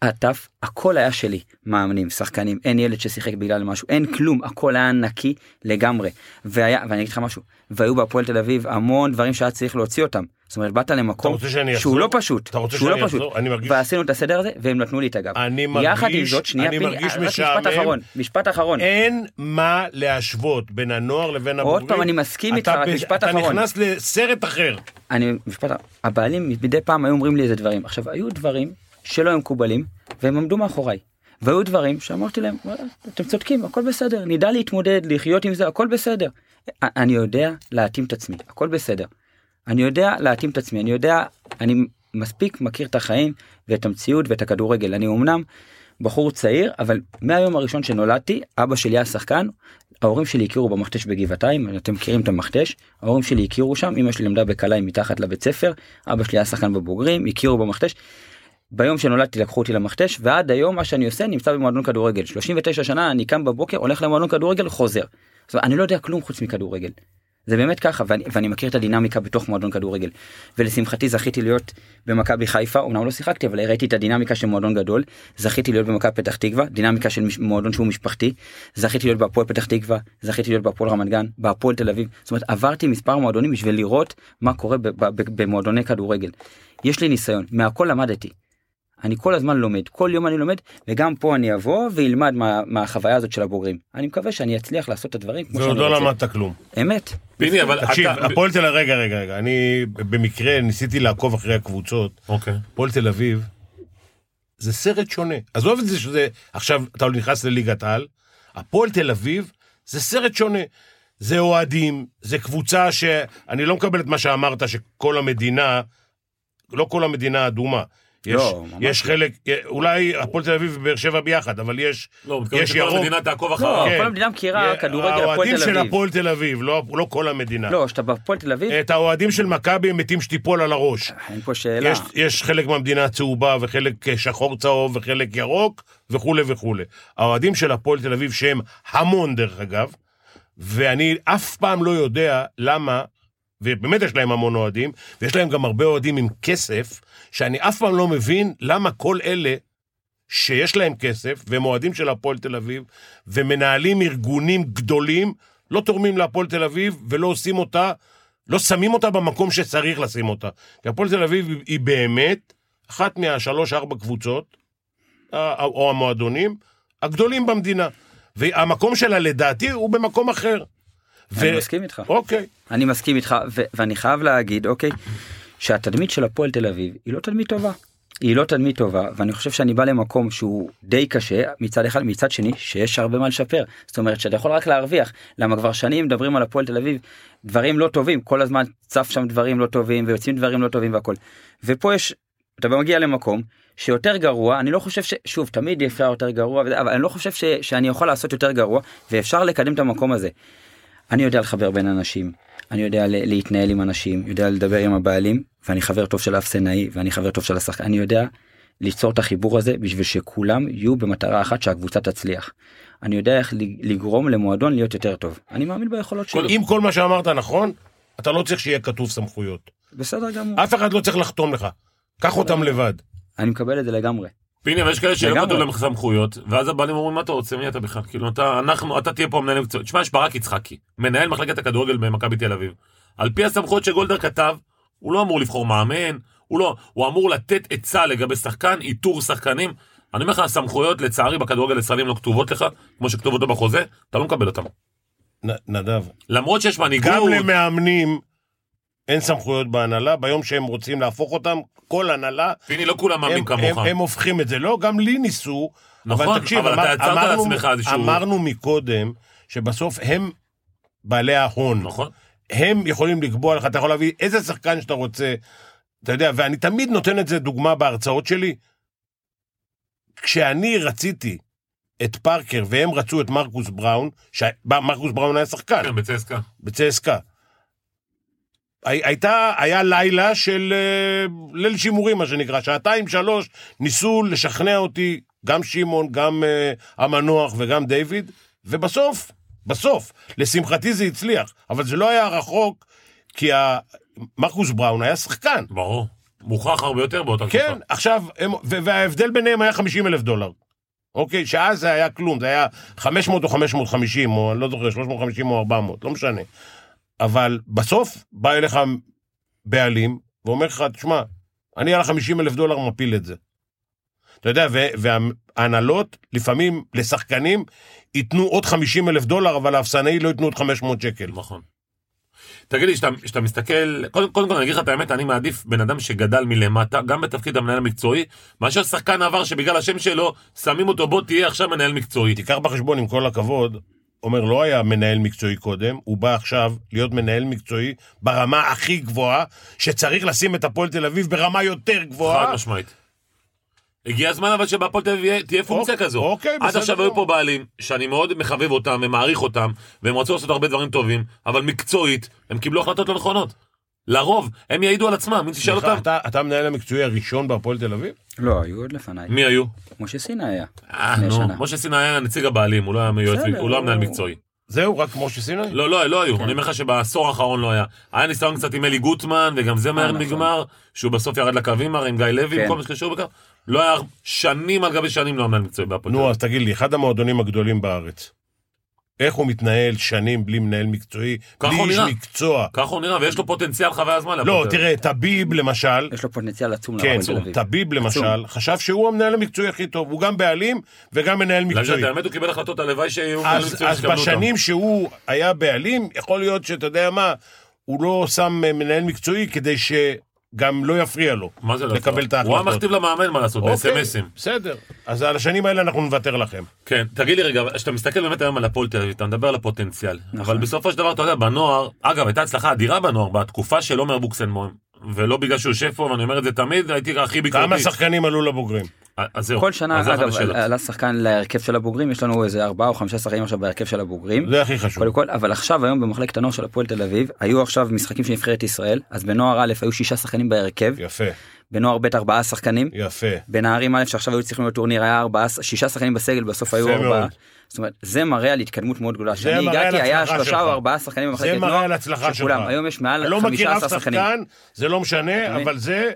Speaker 4: עד ת' הכל היה שלי, מאמנים, שחקנים, אין ילד ששיחק בגלל משהו, אין כלום, הכל היה נקי לגמרי. והיה, ואני אגיד לך משהו, והיו בהפועל תל אביב המון דברים שהיה צריך להוציא אותם. זאת אומרת, באת
Speaker 3: אתה
Speaker 4: למקום
Speaker 3: רוצה שאני
Speaker 4: שהוא
Speaker 3: אחזור?
Speaker 4: לא פשוט,
Speaker 3: אתה רוצה
Speaker 4: שהוא
Speaker 3: שאני
Speaker 4: לא פשוט,
Speaker 3: אחזור? אני מרגיש...
Speaker 4: ועשינו את הסדר הזה והם נתנו לי את הגב.
Speaker 3: אני
Speaker 4: יחד עם
Speaker 3: מרגיש-
Speaker 4: זאת, שנייה,
Speaker 3: אני
Speaker 4: פיני,
Speaker 3: מרגיש
Speaker 4: רק
Speaker 3: משעמם.
Speaker 4: משפט אחרון, משפט אחרון.
Speaker 3: אין מה להשוות בין הנוער לבין הבוגרים.
Speaker 4: פעם, אני מסכים איתך,
Speaker 3: אתה
Speaker 4: רק
Speaker 3: ב-
Speaker 4: משפט
Speaker 3: אתה
Speaker 4: אחרון.
Speaker 3: נכנס לסרט אחר.
Speaker 4: אני, משפט, הבעלים מדי פעם היו אומרים לי איזה דברים. עכשיו, היו דברים שלא היו מקובלים, והם עמדו מאחוריי. והיו דברים שאמרתי להם, "וואלה, אתם צודקים, הכל בסדר, נדע להתמודד, לחיות עם זה, הכל בסדר. א- אני יודע להתאים את עצמי, הכל בסדר. אני יודע להתאים את עצמי, אני יודע, אני מספיק מכיר את החיים ואת המציאות ואת הכדורגל. אני אמנם בחור צעיר, אבל מהיום הראשון שנולדתי, אבא שלי היה שחקן, ההורים שלי הכירו במכתש בגבעתיים, אתם מכירים את המכתש, ההורים שלי הכירו שם, אמא שלי למדה בקלעי מתחת לבית ספר, אבא שלי היה שחקן בבוגרים, הכירו במכתש. ביום שנולדתי לקחו אותי למכתש, ועד היום מה שאני עושה נמצא במועדון כדורגל. 39 שנה אני קם בבוקר, הולך למועדון כדורגל, חוזר. זאת אומרת, אני לא יודע כלום חוץ מכדורגל. זה באמת ככה, ואני, ואני מכיר את הדינמיקה בתוך מועדון כדורגל. ולשמחתי זכיתי להיות במכבי חיפה, אמנם לא שיחקתי, אבל ראיתי את הדינמיקה של מועדון גדול. זכיתי להיות במכבי פתח תקווה, דינמיקה של מש- מועדון שהוא משפחתי. זכיתי להיות בהפועל פתח תקווה, זכיתי להיות בהפועל רמת גן, בהפועל תל אביב. זאת אומרת, עברתי מספר מועדונים בשביל לראות מה קורה ב- ב- ב- במועדוני כדורגל. יש לי ניסיון, מהכל למדתי. אני כל הזמן לומד, כל יום אני לומד, וגם פה אני אבוא ואלמד מה- מהחוויה הזאת של הבוגרים. אני מקווה שאני אצליח לעשות את הדברים כמו
Speaker 3: זה
Speaker 4: שאני
Speaker 3: עוד לא
Speaker 4: רוצה.
Speaker 3: למדת כלום.
Speaker 4: אמת.
Speaker 2: פיני, אבל
Speaker 3: תקשיב,
Speaker 2: אתה...
Speaker 3: הפועל תל אביב, רגע, רגע, רגע, אני במקרה ניסיתי לעקוב אחרי הקבוצות.
Speaker 2: אוקיי.
Speaker 3: הפועל תל אביב, זה סרט שונה. עזוב את זה שזה, עכשיו אתה נכנס לליגת על, הפועל תל אביב זה סרט שונה. זה אוהדים, זה קבוצה שאני לא מקבל את מה שאמרת, שכל המדינה, לא כל המדינה אדומה. יש,
Speaker 4: לא, ממש
Speaker 3: יש חלק, אולי הפועל תל אביב ובאר שבע ביחד, אבל יש,
Speaker 2: לא, הוא מתכוון
Speaker 3: יש
Speaker 2: שכל
Speaker 3: ירוק. כן.
Speaker 2: המדינה תעקוב
Speaker 4: לא,
Speaker 2: אחריו.
Speaker 4: כל המדינה מכירה כדורגל הפועל
Speaker 3: האוהדים
Speaker 4: תל
Speaker 3: של
Speaker 4: אביב.
Speaker 3: הפועל תל אביב, לא, לא כל המדינה.
Speaker 4: לא, שאתה בפועל תל אביב,
Speaker 3: את האוהדים של מכבי הם מתים שתיפול על הראש.
Speaker 4: אין פה שאלה.
Speaker 3: יש, יש חלק מהמדינה צהובה וחלק אה, שחור צהוב וחלק ירוק וכולי וכולי. האוהדים של הפועל תל אביב שהם המון דרך אגב, ואני אף פעם לא יודע למה, ובאמת יש להם המון אוהדים, ויש להם גם הרבה אוהדים עם כסף, שאני אף פעם לא מבין למה כל אלה שיש להם כסף והם אוהדים של הפועל תל אביב ומנהלים ארגונים גדולים, לא תורמים להפועל תל אביב ולא עושים אותה, לא שמים אותה במקום שצריך לשים אותה. כי הפועל תל אביב היא- היא באמת אחת מהשלוש-ארבע קבוצות, ה- או המועדונים, הגדולים במדינה. והמקום שלה לדעתי הוא במקום אחר.
Speaker 4: אני מסכים איתך.
Speaker 3: אוקיי.
Speaker 4: אני מסכים איתך ו- ואני חייב להגיד אוקיי שהתדמית של הפועל תל אביב היא לא תדמית טובה. היא לא תדמית טובה ואני חושב שאני בא למקום שהוא די קשה מצד אחד מצד שני שיש הרבה מה לשפר זאת אומרת שאתה יכול רק להרוויח למה כבר שנים מדברים על הפועל תל אביב דברים לא טובים כל הזמן צף שם דברים לא טובים ויוצאים דברים לא טובים והכל. ופה יש אתה מגיע למקום שיותר גרוע אני לא חושב ששוב תמיד אפשר יותר גרוע וזה, אבל אני לא חושב ש, שאני יכול לעשות יותר גרוע ואפשר לקדם את המקום הזה. אני יודע לחבר בין אנשים, אני יודע ל- להתנהל עם אנשים, יודע לדבר עם הבעלים, ואני חבר טוב של האפסנאי, ואני חבר טוב של השחקן, אני יודע ליצור את החיבור הזה בשביל שכולם יהיו במטרה אחת שהקבוצה תצליח. אני יודע איך לג- לגרום למועדון להיות יותר טוב. אני מאמין ביכולות שלי,
Speaker 3: אם כל מה שאמרת נכון, אתה לא צריך שיהיה כתוב סמכויות.
Speaker 4: בסדר גמור,
Speaker 3: אף אחד לא צריך לחתום לך. קח אותם לבד.
Speaker 4: אני מקבל את זה לגמרי.
Speaker 2: פיני, אבל יש כאלה שלא
Speaker 4: לגמרי.
Speaker 2: כתוב להם סמכויות, ואז הבעלים אומרים, מה אתה רוצה, מי אתה בכלל? כאילו, אתה, אנחנו, אתה תהיה פה המנהל מקצועי. תשמע, יש ברק יצחקי, מנהל מחלקת הכדורגל במכבי תל אביב. על פי הסמכויות שגולדר כתב, הוא לא אמור לבחור מאמן, הוא לא, הוא אמור לתת עצה לגבי שחקן, איתור שחקנים. אני אומר לך, הסמכויות, לצערי, בכדורגל הישראלים לא כתובות לך, כמו שכתובות לו בחוזה, אתה לא מקבל אותן.
Speaker 3: נ- נדב,
Speaker 2: למרות שיש מנהיגות,
Speaker 3: גם למאמנים אין סמכויות בהנהלה, ביום שהם רוצים להפוך אותם, כל הנהלה,
Speaker 2: פיני, לא כולם מאמנים
Speaker 3: הם,
Speaker 2: כמוך.
Speaker 3: הם, הם הופכים את זה. לא, גם לי ניסו,
Speaker 2: נכון, אבל אתה יצרת
Speaker 3: אמרנו-
Speaker 2: לעצמך איזשהו-
Speaker 3: אמרנו מקודם, שבסוף הם בעלי ההון.
Speaker 2: נכון?
Speaker 3: הם יכולים לקבוע לך, אתה יכול להביא איזה שחקן שאתה רוצה, אתה יודע, ואני תמיד נותן את זה דוגמה בהרצאות שלי. כשאני רציתי את פארקר והם רצו את מרקוס בראון, שמרקוס בראון היה שחקן.
Speaker 2: כן, בצסקה.
Speaker 3: בצסקה. הי- הייתה, היה לילה של אה, ליל שימורים, מה שנקרא, שעתיים, שלוש, ניסו לשכנע אותי, גם שמעון, גם אה, המנוח וגם דיוויד, ובסוף, בסוף, לשמחתי זה הצליח, אבל זה לא היה רחוק, כי ה- מרקוס בראון היה שחקן.
Speaker 2: ברור. מוכרח הרבה יותר באותה
Speaker 3: כן, עכשיו, הם, ו- וההבדל ביניהם היה 50 אלף דולר. אוקיי, שאז זה היה כלום, זה היה 500 או 550, או אני לא זוכר, 350 או 400, לא משנה. אבל בסוף בא אליך בעלים ואומר לך, תשמע, אני על ה-50 אלף דולר מפיל את זה. אתה יודע, ו- וההנהלות, לפעמים לשחקנים, ייתנו עוד 50 אלף דולר, אבל האפסנאי לא ייתנו עוד 500 שקל.
Speaker 2: נכון. תגיד לי, כשאתה מסתכל, קודם, קודם כל אני אגיד לך את האמת, אני מעדיף בן אדם שגדל מלמטה, גם בתפקיד המנהל המקצועי, מאשר שחקן עבר שבגלל השם שלו, שמים אותו בוא תהיה עכשיו מנהל מקצועי.
Speaker 3: תיקח בחשבון, עם כל הכבוד, עומר לא היה מנהל מקצועי קודם, הוא בא עכשיו להיות מנהל מקצועי ברמה הכי גבוהה, שצריך לשים את הפועל תל אביב ברמה יותר
Speaker 2: חד
Speaker 3: גבוהה.
Speaker 2: משמעית. הגיע הזמן אבל שבהפועל תל אביב יהיה- תהיה פונקציה
Speaker 3: אוקיי,
Speaker 2: כזו.
Speaker 3: אוקיי,
Speaker 2: עד
Speaker 3: בסדר
Speaker 2: עכשיו היו פה
Speaker 3: גמור.
Speaker 2: בעלים שאני מאוד מחבב אותם ומעריך אותם, והם רצו לעשות הרבה דברים טובים, אבל מקצועית, הם קיבלו החלטות לא נכונות. לרוב, הם יעידו על עצמם, אם תשאל
Speaker 3: סליחה,
Speaker 2: אותם,
Speaker 3: אתה, אתה המנהל המקצועי הראשון בהפועל תל אביב?
Speaker 4: לא, היו עוד לפניי.
Speaker 2: מי היו?
Speaker 4: משה סינה היה.
Speaker 2: אה,
Speaker 4: לפני
Speaker 2: נו,
Speaker 4: שנה.
Speaker 2: משה סיני היה נציג הבעלים, הוא לא היה מיועץ,
Speaker 4: בסדר,
Speaker 2: הוא לא היה מנהל
Speaker 4: הוא-
Speaker 2: מקצועי.
Speaker 3: זהו, רק משה סיני?
Speaker 2: לא, לא, לא היו. אני אומר לך שבעשור האחרון לא היה. היה ניסיון קצת עם אלי גוטמן, וגם זה מהר
Speaker 4: נכון.
Speaker 2: נגמר, שהוא בסוף ירד לקווים הרי עם גיא לוי, עם
Speaker 4: כן.
Speaker 2: כל מה שקשור בכך. לא היה שנים על גבי שנים לא היה מנהל מקצועי בהפועל. תל
Speaker 3: נו,
Speaker 2: אביב.
Speaker 3: אז תגיד לי, אחד המועדונים הגדולים בארץ, איך הוא מתנהל שנים בלי מנהל מקצועי,
Speaker 2: ככה
Speaker 3: בלי
Speaker 2: הוא
Speaker 3: איש
Speaker 2: נראה.
Speaker 3: מקצוע.
Speaker 2: ככה הוא נראה, ויש לו פוטנציאל חבל הזמן.
Speaker 3: לא,
Speaker 2: לפוטר.
Speaker 3: תראה, טביב למשל,
Speaker 4: יש לו פוטנציאל עצום
Speaker 3: כן,
Speaker 4: להפועל תל אביב.
Speaker 3: טביב למשל, חשב שהוא המנהל המקצועי הכי טוב, הוא גם בעלים וגם מנהל
Speaker 2: לג'ת,
Speaker 3: מקצועי.
Speaker 2: האמת הוא קיבל החלטות, הלוואי שיהיו מנהלים
Speaker 3: אז,
Speaker 2: מקצועיים
Speaker 3: אז
Speaker 2: שיקבלו אותם.
Speaker 3: בשנים שהוא היה בעלים, יכול להיות שאתה יודע מה, הוא לא שם אה, מנהל מקצועי כדי שגם לא יפריע לו.
Speaker 2: מה זה לא
Speaker 3: לקבל
Speaker 2: יפה?
Speaker 3: את ההחלטות.
Speaker 2: הוא היה מכתיב למאמן מה לעשות,
Speaker 3: אוקיי,
Speaker 2: בסמסים.
Speaker 3: בסדר. אז על השנים האלה אנחנו נוותר לכם.
Speaker 2: כן, תגיד לי רגע, כשאתה מסתכל באמת היום על הפועל תל אביב, אתה מדבר על הפוטנציאל.
Speaker 4: נכון.
Speaker 2: אבל בסופו של דבר, אתה יודע, בנוער, אגב, הייתה הצלחה אדירה בנוער, בתקופה של עומר בוקסנבוים, ולא בגלל שהוא יושב פה, ואני אומר את זה תמיד, הייתי הכי ביקורתי. אה,
Speaker 3: כמה שחקנים עלו לבוגרים?
Speaker 2: אז זהו.
Speaker 4: כל שנה
Speaker 2: אז זה אחת
Speaker 4: אגב
Speaker 2: השאלות.
Speaker 4: עלה שחקן להרכב של הבוגרים יש לנו איזה ארבעה או חמישה שחקנים עכשיו בהרכב של הבוגרים.
Speaker 3: זה הכי חשוב.
Speaker 4: קודם כל אבל עכשיו היום במחלקת הנוער של הפועל תל אביב היו עכשיו משחקים של נבחרת ישראל אז בנוער א' היו שישה שחקנים בהרכב
Speaker 3: יפה,
Speaker 4: בנוער ב' ארבעה שחקנים
Speaker 3: יפה.
Speaker 4: בנערים א' שעכשיו היו צריכים להיות טורניר היה ארבעה שישה שחקנים בסגל בסוף היו
Speaker 3: יפה
Speaker 4: ארבעה.
Speaker 3: מאוד.
Speaker 4: זאת אומרת זה מראה על התקדמות מאוד גדולה.
Speaker 3: זה
Speaker 4: כשאני
Speaker 3: מראה
Speaker 4: הגעתי
Speaker 3: על
Speaker 4: היה
Speaker 3: הצלחה
Speaker 4: שלושה או
Speaker 3: שלך.
Speaker 4: ארבעה שחקנים במחלקת
Speaker 3: זה
Speaker 4: נוער.
Speaker 3: מראה על הצלחה שלך.
Speaker 4: שכולם. היום יש מעל
Speaker 3: אני לא מכיר
Speaker 4: 15
Speaker 3: אף
Speaker 4: שחקנים.
Speaker 3: שחקן, זה לא משנה,
Speaker 4: מבין?
Speaker 3: אבל זה...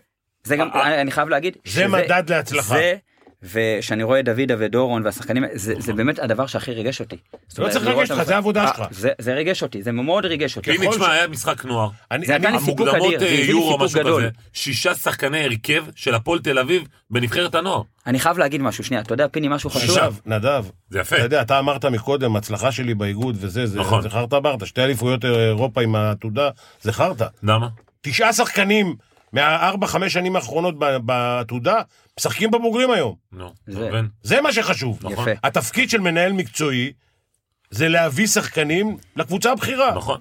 Speaker 4: זה גם אני אני חייב להגיד
Speaker 3: אה, זה מדד להצלחה.
Speaker 4: זה ושאני רואה את דוידה ודורון והשחקנים זה זה באמת הדבר שהכי ריגש אותי. זאת אומרת,
Speaker 3: לא צריך
Speaker 4: לראות
Speaker 3: לרגש
Speaker 4: את
Speaker 3: אותך, זה העבודה
Speaker 4: אה,
Speaker 3: שלך.
Speaker 4: זה- זה ריגש אותי זה מאוד ריגש אותי.
Speaker 2: הנה,
Speaker 3: ככל ש-
Speaker 2: תשמע, היה משחק נוער.
Speaker 3: אני-
Speaker 4: זה
Speaker 3: אני-
Speaker 4: נתן לי סיפוק אדיר,
Speaker 2: המוקדמות
Speaker 4: זה
Speaker 2: אה,
Speaker 4: הביא לי
Speaker 2: יורו,
Speaker 4: סיפוק
Speaker 2: משהו
Speaker 4: גדול.
Speaker 2: כזה. שישה שחקני הרכב של הפועל תל אביב בנבחרת הנוער.
Speaker 4: אני חייב להגיד משהו שנייה אתה יודע פיני משהו חשוב.
Speaker 3: נדב, נדב,
Speaker 2: זה יפה.
Speaker 3: אתה יודע, אתה אמרת מקודם, הצלחה שלי באיגוד וזה, זה,
Speaker 2: נכון.
Speaker 3: זה חרטה ברטה, שתי אליפויות אה, אירופה עם העתודה, זה חרטה.
Speaker 2: למה?
Speaker 3: תשעה שחקנים מהארבע, חמש שנים האחרונות ב- בעתודה, משחקים בבוגרים היום.
Speaker 2: נו, אתה
Speaker 4: זה-
Speaker 2: מבין?
Speaker 3: זה מה שחשוב.
Speaker 4: יפה.
Speaker 3: התפקיד של מנהל מקצועי זה להביא שחקנים לקבוצה הבכירה.
Speaker 2: נכון.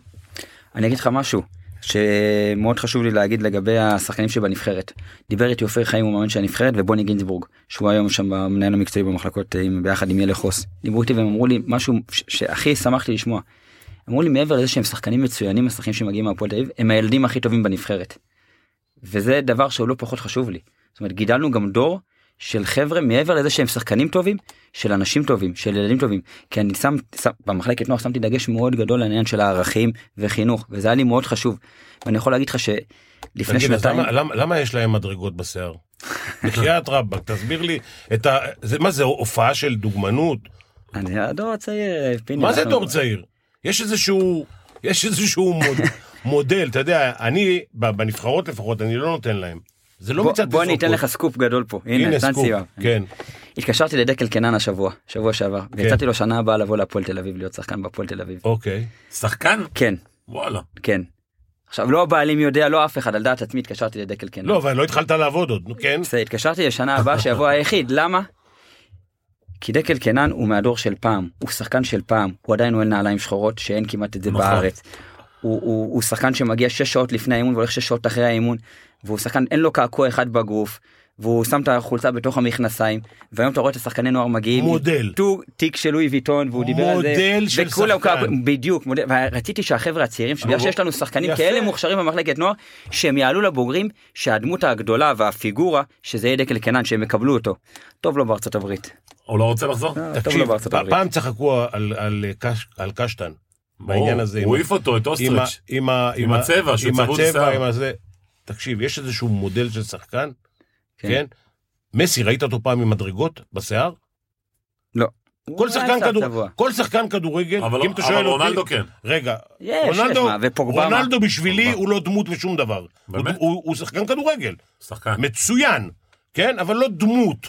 Speaker 4: אני אגיד לך משהו שמאוד חשוב לי להגיד לגבי השחקנים שבנבחרת. דיבר איתי אופיר חיים הוא מאמן של הנבחרת ובוני גינזבורג שהוא היום שם המנהל המקצועי במחלקות אה, עם- ביחד עם ילה חוס. דיברו איתי והם אמרו לי משהו ש- שהכי שמחתי לשמוע. אמרו לי מעבר לזה שהם שחקנים מצוינים השחקנים שמגיעים מהפועל תל אביב הם הילדים הכי טובים בנבחרת. וזה דבר שהוא לא פחות חשוב לי. זאת אומרת גידלנו גם דור של חבר'ה מעבר לזה שהם שחקנים טובים של אנשים טובים של ילדים טובים כי אני שם, שם במחלקת נוער שמתי דגש מאוד גדול לעניין של הערכים וחינוך וזה היה לי מאוד חשוב. ואני יכול להגיד לך שלפני
Speaker 3: תגיד, אז
Speaker 4: שנתיים
Speaker 3: למה, למה, למה יש להם מדרגות
Speaker 4: [laughs]
Speaker 3: בשיער? בחייאת רבאק, תסביר לי את ה... זה, מה זה, הופעה של דוגמנות?
Speaker 4: אני הדור הצעיר פיני
Speaker 3: מה זה
Speaker 4: אנחנו-
Speaker 3: דור צעיר? יש איזשהו, יש איזשהו מוד,
Speaker 4: [laughs]
Speaker 3: מודל, אתה יודע, אני, ב- בנבחרות לפחות, אני לא נותן להם. זה לא
Speaker 4: בוא,
Speaker 3: מצד
Speaker 4: בוא אני
Speaker 3: תסרוקות.
Speaker 4: אתן לך סקופ גדול פה הנה
Speaker 3: הנה
Speaker 4: נתן
Speaker 3: סקופ,
Speaker 4: סיוע.
Speaker 3: כן.
Speaker 4: התקשרתי לדקל קנן השבוע שבוע שעבר והצעתי לו שנה הבאה לבוא להפועל תל אביב להיות שחקן בהפועל תל אביב.
Speaker 3: אוקיי.
Speaker 2: שחקן?
Speaker 4: כן
Speaker 2: וואלה.
Speaker 4: כן. עכשיו לא הבעלים יודע לא אף אחד על דעת עצמי התקשרתי לדקל קנן.
Speaker 3: לא, אבל לא התחלת לעבוד עוד, נו כן?
Speaker 4: בסדר, התקשרתי לשנה הבאה שיבוא היחיד, למה? כי דקל קנן הוא מהדור של פעם, הוא שחקן של פעם, הוא עדיין אוהל נעליים שחורות שאין כמעט את זה
Speaker 2: נכון.
Speaker 4: בארץ. הוא, הוא, הוא שחקן שמגיע 6 שעות לפני האימון והולך 6 שעות אחרי האימון, והוא שחקן, אין לו קעקוע אחד בגוף, והוא שם את החולצה בתוך המכנסיים, והיום אתה רואה את השחקני נוער מגיעים, עם
Speaker 3: מודל.
Speaker 4: טור, תיק של לואי ויטון, והוא דיבר על זה,
Speaker 3: מודל של
Speaker 4: וכולם
Speaker 3: שחקן.
Speaker 4: קעקוע- בדיוק, מודל, ורציתי שהחבר'ה הצעירים, שבגלל שיש לנו שחקנים
Speaker 3: יפה.
Speaker 4: כאלה מוכשרים במחלקת נוער, שהם יעלו לבוגרים, שהדמות הגדולה והפיגורה, שזה יהיה דקל קנן, שהם יקבלו אותו. טוב לו בארצות הברית. אה,
Speaker 2: הוא לא רוצה לחזור?
Speaker 4: טוב לו
Speaker 3: תקשיב,
Speaker 4: בארצות
Speaker 3: פ-
Speaker 4: הברית.
Speaker 3: פעם צחקו על- על קש- על קשטן, בעניין
Speaker 2: ברור.
Speaker 3: הזה. עם
Speaker 2: הוא
Speaker 3: ה-
Speaker 2: העיף אותו, את
Speaker 3: עם ה-
Speaker 2: אוסטריץ'.
Speaker 3: עם ה-
Speaker 2: עם הצבע, שהוא
Speaker 3: עם
Speaker 2: צרוד
Speaker 3: הצבע,
Speaker 2: שיער.
Speaker 3: עם הזה. תקשיב, יש איזשהו מודל של שחקן,
Speaker 4: כן.
Speaker 3: כן? מסי, ראית אותו פעם עם מדרגות בשיער?
Speaker 4: לא.
Speaker 3: כל
Speaker 4: הוא היה
Speaker 3: שחקן
Speaker 4: קצת
Speaker 3: כדור-
Speaker 4: צבוע.
Speaker 3: כל שחקן כדורגל,
Speaker 2: אבל
Speaker 3: אם אתה שואל
Speaker 2: אבל רונלדו
Speaker 3: אותי,
Speaker 2: כן.
Speaker 3: רגע,
Speaker 4: יש, יש,
Speaker 3: רונלדו-
Speaker 4: מה, ופוגבה, מה?
Speaker 3: רונלדו בשבילי
Speaker 2: פוגבה.
Speaker 3: הוא לא דמות ושום דבר. הוא-
Speaker 2: באמת?
Speaker 3: הוא הוא שחקן כדורגל,
Speaker 2: שחקן.
Speaker 3: מצוין, כן? אבל לא דמות,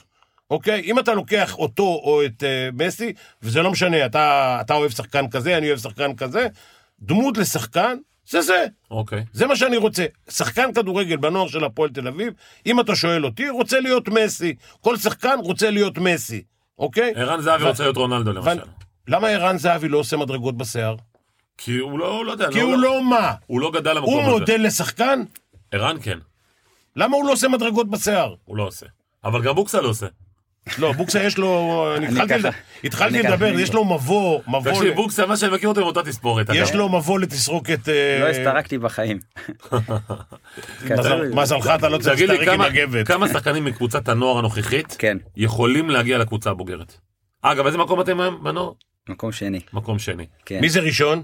Speaker 3: אוקיי? אם אתה לוקח אותו או את אה, מסי, וזה לא משנה, אתה אתה אוהב שחקן כזה, אני אוהב שחקן כזה, דמות לשחקן, זה זה.
Speaker 2: אוקיי.
Speaker 3: זה מה שאני רוצה. שחקן כדורגל בנוער של הפועל תל אביב, אם אתה שואל אותי, רוצה להיות מסי. כל שחקן רוצה להיות מסי, אוקיי?
Speaker 2: ערן זהבי
Speaker 3: ו-
Speaker 2: רוצה להיות רונלדו
Speaker 3: אבל-
Speaker 2: למשל.
Speaker 3: למה ערן זהבי לא עושה מדרגות בשיער?
Speaker 2: כי הוא לא, הוא לא יודע.
Speaker 3: כי הוא לא מה?
Speaker 2: הוא לא גדל למקום
Speaker 3: הוא
Speaker 2: הזה.
Speaker 3: מודל לשחקן?
Speaker 2: ערן כן,
Speaker 3: למה הוא לא עושה מדרגות בשיער?
Speaker 2: הוא לא עושה. אבל גם בוקסה לא עושה.
Speaker 3: לא, בוקסה יש לו... אני
Speaker 4: אני
Speaker 3: התחלתי
Speaker 4: ככה.
Speaker 3: לד- התחלתי
Speaker 4: אני ככה.
Speaker 3: לדבר, יש לו מבוא, מבוא...
Speaker 2: תקשיב,
Speaker 3: ל-
Speaker 2: בוקסה, מה שאני מכיר אותו עם אותה תספורת. אגב.
Speaker 3: יש לו מבוא לתסרוקת... אה,
Speaker 4: לא הסתרקתי
Speaker 3: [laughs]
Speaker 4: בחיים. כן,
Speaker 3: מזל- מזלך אתה לא צריך
Speaker 2: תגיד לי,
Speaker 3: להסתרק עם
Speaker 2: כמה,
Speaker 3: הגבת.
Speaker 2: כמה שחקנים מקבוצת הנוער הנוכחית
Speaker 4: כן,
Speaker 2: יכולים להגיע לקבוצה הבוגרת? אגב, איזה מקום אתם היום בנוער?
Speaker 4: מקום שני.
Speaker 2: מקום שני.
Speaker 4: כן.
Speaker 3: מי זה ראשון?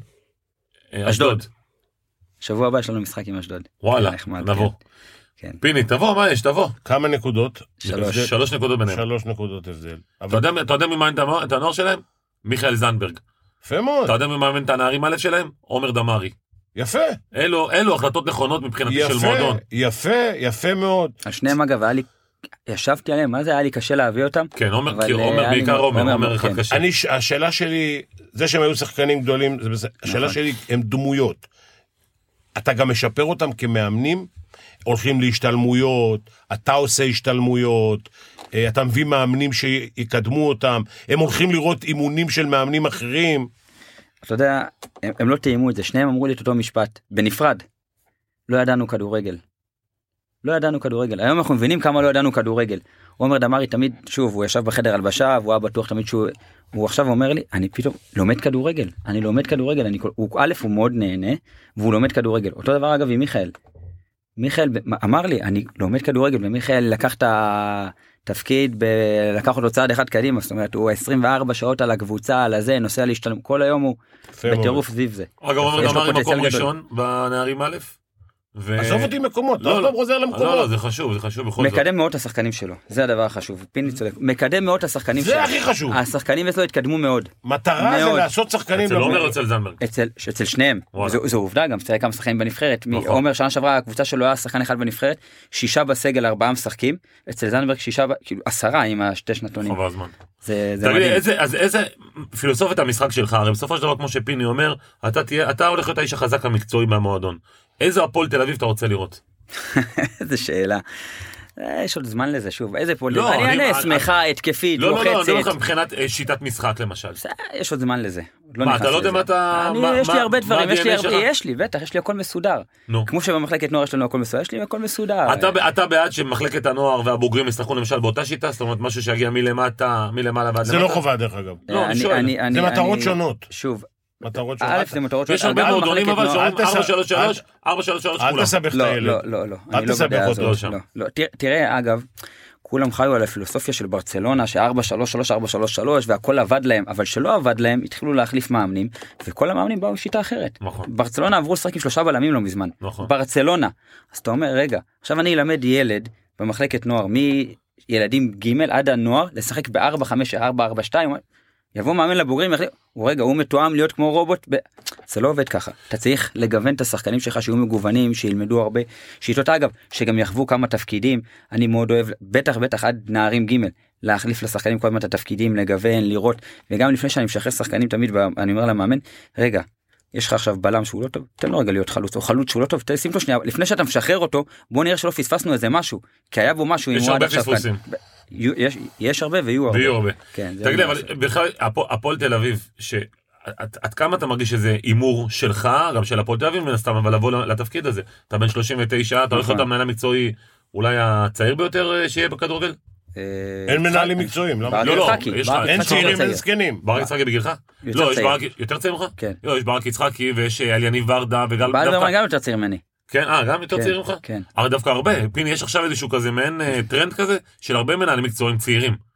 Speaker 2: אה,
Speaker 4: אשדוד. שבוע הבא יש לנו משחק עם אשדוד.
Speaker 2: וואלה,
Speaker 4: כן, נחמד,
Speaker 2: נבוא.
Speaker 4: כן. כן.
Speaker 2: פיני, תבוא, מה יש, תבוא.
Speaker 3: כמה נקודות?
Speaker 4: שלוש.
Speaker 3: הבדל-
Speaker 2: שלוש נקודות ביניהם.
Speaker 3: שלוש נקודות הבדל.
Speaker 2: אתה יודע- אתה יודע ממה את הנוער שלהם? מיכאל זנדברג.
Speaker 3: יפה מאוד.
Speaker 2: אתה יודע מי מאמן את הנערים א' שלהם? עומר דמארי.
Speaker 3: יפה.
Speaker 2: אלו, אלו החלטות נכונות מבחינתי של
Speaker 3: יפה,
Speaker 2: מועדון.
Speaker 3: יפה, יפה מאוד.
Speaker 4: על שניהם אגב היה לי, ישבתי עליהם, מה זה היה לי קשה להביא אותם?
Speaker 2: כן, עומר,
Speaker 4: אבל,
Speaker 2: כי
Speaker 4: אה,
Speaker 2: עומר,
Speaker 4: אני-
Speaker 2: בעיקר עומר,
Speaker 4: עומר,
Speaker 2: עומר אחד
Speaker 4: כן.
Speaker 2: קשה.
Speaker 3: אני, ש- השאלה שלי, זה שהם היו שחקנים גדולים, זה בסדר. השאלה
Speaker 4: נכון.
Speaker 3: שלי, הם דמויות. אתה גם משפר אותם כמאמנים, הולכים להשתלמויות, אתה עושה השתלמויות, אה, אתה מביא מאמנים שיקדמו אותם, הם הולכים לראות אימונים של מאמנים אחרים.
Speaker 4: אתה יודע, הם, הם לא תיאמו את זה, שניהם אמרו לי את אותו משפט, בנפרד. לא ידענו כדורגל. לא ידענו כדורגל. היום אנחנו מבינים כמה לא ידענו כדורגל. עומר דמארי תמיד, שוב, הוא ישב בחדר הלבשה, והוא היה בטוח תמיד שהוא... הוא עכשיו אומר לי, אני פתאום לומד כדורגל. אני לומד כדורגל, אני... כל- הוא, א', הוא מאוד נהנה, והוא לומד כדורגל. אותו דבר אגב עם מיכאל. מיכאל ב- אמר לי, אני לומד כדורגל, ומיכאל לקח את ה... תפקיד ב... לקח אותו צעד אחד קדימה זאת אומרת הוא 24 שעות על הקבוצה על הזה נוסע להשתלם כל היום הוא
Speaker 3: יפה מאוד.
Speaker 4: בטירוף סביב זה.
Speaker 2: אגב,
Speaker 4: יש
Speaker 2: עומר
Speaker 4: לו
Speaker 2: דמארי
Speaker 4: פוטנציאל
Speaker 2: מקום
Speaker 4: גדול.
Speaker 2: ראשון בנערים א'. ו-
Speaker 3: עזוב אותי מקומות,
Speaker 2: לא,
Speaker 3: לא,
Speaker 2: לא.
Speaker 3: לא חוזר
Speaker 2: לא, לא,
Speaker 3: למקומות.
Speaker 2: זה חשוב, זה חשוב בכל זאת.
Speaker 4: מקדם מאוד את השחקנים שלו זה הדבר החשוב פיני צודק מקדם מאוד את השחקנים
Speaker 3: זה
Speaker 4: שלו.
Speaker 3: הכי חשוב.
Speaker 4: השחקנים אצלו התקדמו מאוד
Speaker 3: מטרה זה
Speaker 4: אה, מאוד. לא
Speaker 3: לעשות שחקנים.
Speaker 2: אצל עומר או
Speaker 3: לבני.
Speaker 2: אצל זנדברג?
Speaker 4: אצל אצל שניהם
Speaker 2: וואלה.
Speaker 4: זו, זו עובדה גם תראה כמה שחקנים בנבחרת מי-
Speaker 2: נכון.
Speaker 4: עומר שנה שעברה הקבוצה שלו היה שחקן אחד בנבחרת שישה בסגל ארבעה משחקים אצל זנדברג שישה ב- כאילו עשרה עם השתי שנתונים
Speaker 2: חבל הזמן.
Speaker 4: זה, זה
Speaker 2: תגיד לי,
Speaker 4: מדהים. [laughs]
Speaker 2: איזה, אז איזה פילוסופת המשחק שלך, הרי בסופו של דבר, כמו שפיני אומר, אתה תהיה, אתה הולך להיות האיש החזק המקצועי מהמועדון. איזה הפועל תל אביב אתה רוצה לראות?
Speaker 4: איזה שאלה. אה, יש עוד זמן לזה שוב איזה פועל
Speaker 2: לא,
Speaker 4: אני
Speaker 2: אני-
Speaker 4: אענה
Speaker 2: אני-
Speaker 4: שמחה התקפית
Speaker 2: לא, לא, לא, אני אומר לך
Speaker 4: לוחצת.
Speaker 2: מבחינת אה, שיטת משחק למשל.
Speaker 4: בסדר, יש עוד זמן לזה. עוד
Speaker 2: מה,
Speaker 4: נכנס
Speaker 2: אתה לא יודע
Speaker 4: לזה.
Speaker 2: מה אתה-
Speaker 4: אני-
Speaker 2: מה-
Speaker 4: יש לי
Speaker 2: מה-
Speaker 4: הרבה
Speaker 2: מה
Speaker 4: דברים, יש לי
Speaker 2: ה-DNA
Speaker 4: הרבה,
Speaker 2: שלך?
Speaker 4: יש לי, בטח, יש לי הכל מסודר.
Speaker 2: נו.
Speaker 4: כמו שבמחלקת נוער יש לנו הכל מסודר, יש לי הכל מסודר.
Speaker 2: אתה, ב- אתה בעד שמחלקת הנוער והבוגרים ישחקו למשל באותה שיטה? זאת אומרת, משהו שיגיע מלמטה, מלמעלה ועד למטה?
Speaker 3: זה לא חובה דרך אגב.
Speaker 2: לא, אני שואל.
Speaker 3: זה מטרות
Speaker 4: אה, אני-
Speaker 3: שונות.
Speaker 4: שוב,
Speaker 3: מטרות
Speaker 4: א'
Speaker 3: שונות.
Speaker 4: זה מטרות שונות.
Speaker 2: יש הרבה
Speaker 4: אגב,
Speaker 2: מועדונים
Speaker 4: מחלקת
Speaker 2: אבל
Speaker 4: נוער-
Speaker 2: שאומרים
Speaker 3: לא, אל תס-
Speaker 2: 433, 433
Speaker 3: אל
Speaker 2: כולם.
Speaker 3: תסבך את
Speaker 4: לא,
Speaker 3: הילד.
Speaker 4: לא, לא, לא.
Speaker 3: אל
Speaker 4: אני לא
Speaker 3: תסבך
Speaker 4: בדעה
Speaker 3: אותו,
Speaker 4: הזאת,
Speaker 2: לא שם.
Speaker 4: לא, לא. תראה- תראה, אגב, כולם חיו על הפילוסופיה של ברצלונה, ש-4-3-3, 4-3-3, והכל עבד להם, אבל שלא עבד להם, התחילו להחליף מאמנים, וכל המאמנים באו עם שיטה אחרת.
Speaker 2: נכון.
Speaker 4: ברצלונה עברו לשחק עם שלושה בלמים לא מזמן.
Speaker 2: נכון.
Speaker 4: ברצלונה. אז אתה אומר, רגע, עכשיו אני אלמד ילד במחלקת נוער, מילדים ג' עד הנוער, לשחק ב-4-5-4-4-2, יבוא מאמן לבוגרים, יחליט, הוא רגע, הוא מתואם להיות כמו רובוט, ב... זה לא עובד ככה. אתה צריך לגוון את השחקנים שלך שיהיו מגוונים, שילמדו הרבה שיטות, אגב, שגם יחוו כמה תפקידים, אני מאוד אוהב, בטח בטח עד נערים ג', להחליף לשחקנים כל הזמן את התפקידים, לגוון, לראות, וגם לפני שאני משחרר שחקנים תמיד, ב- אני אומר למאמן, רגע, יש לך עכשיו בלם שהוא לא טוב, תן לו רגע להיות חלוץ, או חלוץ שהוא לא טוב, תן שים אותו שנייה, לפני שאתה משחרר אותו, בוא נראה שלא פספסנו איזה משהו, כי היה בו משהו, אם
Speaker 2: יש
Speaker 4: הוא עד
Speaker 2: הרבה
Speaker 4: עכשיו כאן.
Speaker 2: פספוסים.
Speaker 4: ב- יהיו- יש- יש הרבה ויהיו הרבה.
Speaker 2: ויהיו הרבה.
Speaker 4: כן, זה
Speaker 2: תגיד לי,
Speaker 4: מה
Speaker 2: אבל בכלל, הפו- הפועל תל אביב, ש- עד- עד כמה אתה מרגיש שזה הימור שלך, גם של הפועל תל אביב מן הסתם, אבל לבוא לתפקיד הזה. אתה בן 39, אתה הולך
Speaker 4: נכון.
Speaker 2: להיות המנהל המקצועי אולי הצעיר ביותר אה, שיהיה בכדורגל?
Speaker 4: אה,
Speaker 3: אין מנהלים מקצועיים, למה?
Speaker 4: ברק
Speaker 2: לא, לא,
Speaker 4: יצחקי,
Speaker 2: יש לך-
Speaker 4: ברק
Speaker 2: אין
Speaker 3: אין
Speaker 4: יצחקי
Speaker 3: צעירים,
Speaker 4: יותר
Speaker 3: אין
Speaker 4: צעיר.
Speaker 3: זקנים.
Speaker 2: ברק יצחקי בגילך?
Speaker 4: יותר
Speaker 2: לא, יש
Speaker 4: צעיר.
Speaker 2: ברק, יותר צעיר ממך?
Speaker 4: כן.
Speaker 2: לא, יש ברק יצחקי ויש אה, על יניב ורדה וגל...
Speaker 4: באלברמן
Speaker 2: דווקא-
Speaker 4: גם יותר צעיר ממני.
Speaker 2: כן, אה, גם יותר
Speaker 4: כן,
Speaker 2: צעיר ממך?
Speaker 4: כן.
Speaker 2: אבל דווקא הרבה. פיני, יש עכשיו איזשהו כזה מעין אה, טרנד כזה של הרבה מנהלים מקצועיים צעירים.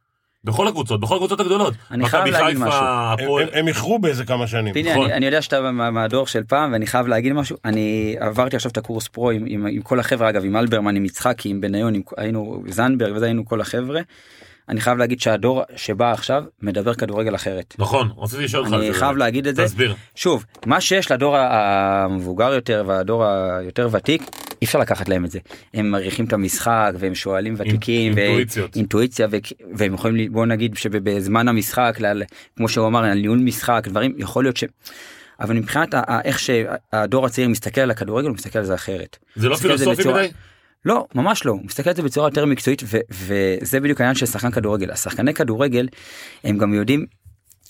Speaker 2: בכל הקבוצות, בכל הקבוצות הגדולות.
Speaker 4: אני חייב
Speaker 2: מכבי
Speaker 4: להגיד
Speaker 2: חיפה,
Speaker 4: משהו.
Speaker 3: הם-
Speaker 2: הפועל-
Speaker 3: הם- הם איחרו באיזה כמה שנים.
Speaker 4: פיני,
Speaker 2: נכון.
Speaker 4: אני- אני יודע שאתה מה- מהדור של פעם ואני חייב להגיד משהו. אני עברתי עכשיו את הקורס פרו עם- עם עם כל החברה, אגב, עם אלברמן, עם יצחקי, עם בניון, עם- היינו זנדברג וזה היינו כל החבר'ה. אני חייב להגיד שהדור שבא עכשיו מדבר כדורגל אחרת.
Speaker 2: נכון, רציתי לשאול אותך. על
Speaker 4: אני
Speaker 2: זה
Speaker 4: חייב
Speaker 2: באמת.
Speaker 4: להגיד את זה.
Speaker 2: תסביר.
Speaker 4: שוב, מה שיש לדור ה- המבוגר יותר והדור היותר ותיק, אי אפשר לקחת להם את זה. הם מעריכים את המשחק והם שואלים ותיקים. ו-
Speaker 2: אינטואיציות.
Speaker 4: אינטואיציה ו- והם יכולים ל- בוא נגיד שבזמן המשחק ל- כמו שהוא אמר על ניהול משחק דברים יכול להיות ש... אבל מבחינת ה- ה- איך שהדור הצעיר מסתכל על הכדורגל הוא מסתכל על זה אחרת.
Speaker 2: זה לא
Speaker 4: מסתכל על
Speaker 2: פילוסופי
Speaker 4: בצורה-
Speaker 2: מדי?
Speaker 4: לא, ממש לא. הוא מסתכל על זה בצורה יותר מקצועית, ו- וזה בדיוק העניין של שחקן כדורגל. השחקני כדורגל, הם גם יודעים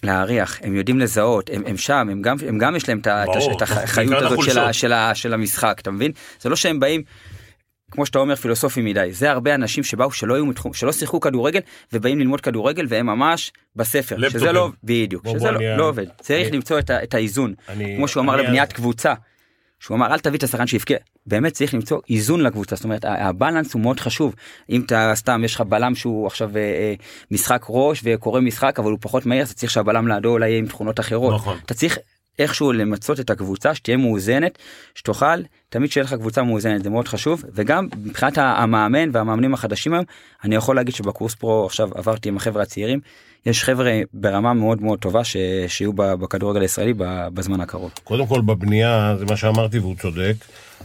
Speaker 4: להריח, הם יודעים לזהות, הם, הם שם, הם גם, הם גם יש להם את ה- את הש-
Speaker 2: ברור,
Speaker 4: את החיות
Speaker 2: בעיקר את
Speaker 4: הזאת של, ה-
Speaker 2: החולשות.
Speaker 4: של, ה- של המשחק, אתה מבין? זה לא שהם באים, כמו שאתה אומר, פילוסופים מדי. זה הרבה אנשים שבאו, שלא, היו מתחום, שלא שיחקו כדורגל, ובאים ללמוד כדורגל, והם ממש בספר. שזה
Speaker 2: לפטופים.
Speaker 4: לא, בדיוק,
Speaker 3: בוא,
Speaker 4: שזה
Speaker 3: בוא,
Speaker 4: לא,
Speaker 3: אני-
Speaker 4: לא עובד. צריך
Speaker 3: אני-
Speaker 4: למצוא את, ה- את האיזון.
Speaker 3: אני-
Speaker 4: כמו שהוא אמר
Speaker 3: אני-
Speaker 4: לבניית קבוצה. שהוא אמר אל תביא את השחקן שיבכה באמת צריך למצוא איזון לקבוצה זאת אומרת ה- הבלנס הוא מאוד חשוב אם אתה סתם יש לך בלם שהוא עכשיו אה, אה, משחק ראש וקורא משחק אבל הוא פחות מהיר אז אתה צריך שהבלם לידו אולי יהיה עם תכונות אחרות
Speaker 2: נכון.
Speaker 4: אתה צריך איכשהו למצות את הקבוצה שתהיה מאוזנת שתוכל תמיד שיהיה לך קבוצה מאוזנת זה מאוד חשוב וגם מבחינת ה- המאמן והמאמנים החדשים היום אני יכול להגיד שבקורס פרו עכשיו עברתי עם החברה הצעירים יש חבר'ה ברמה מאוד מאוד טובה ש... שיהיו ב- בכדורגל הישראלי ב- בזמן הקרוב.
Speaker 3: קודם כל בבנייה, זה מה שאמרתי והוא צודק,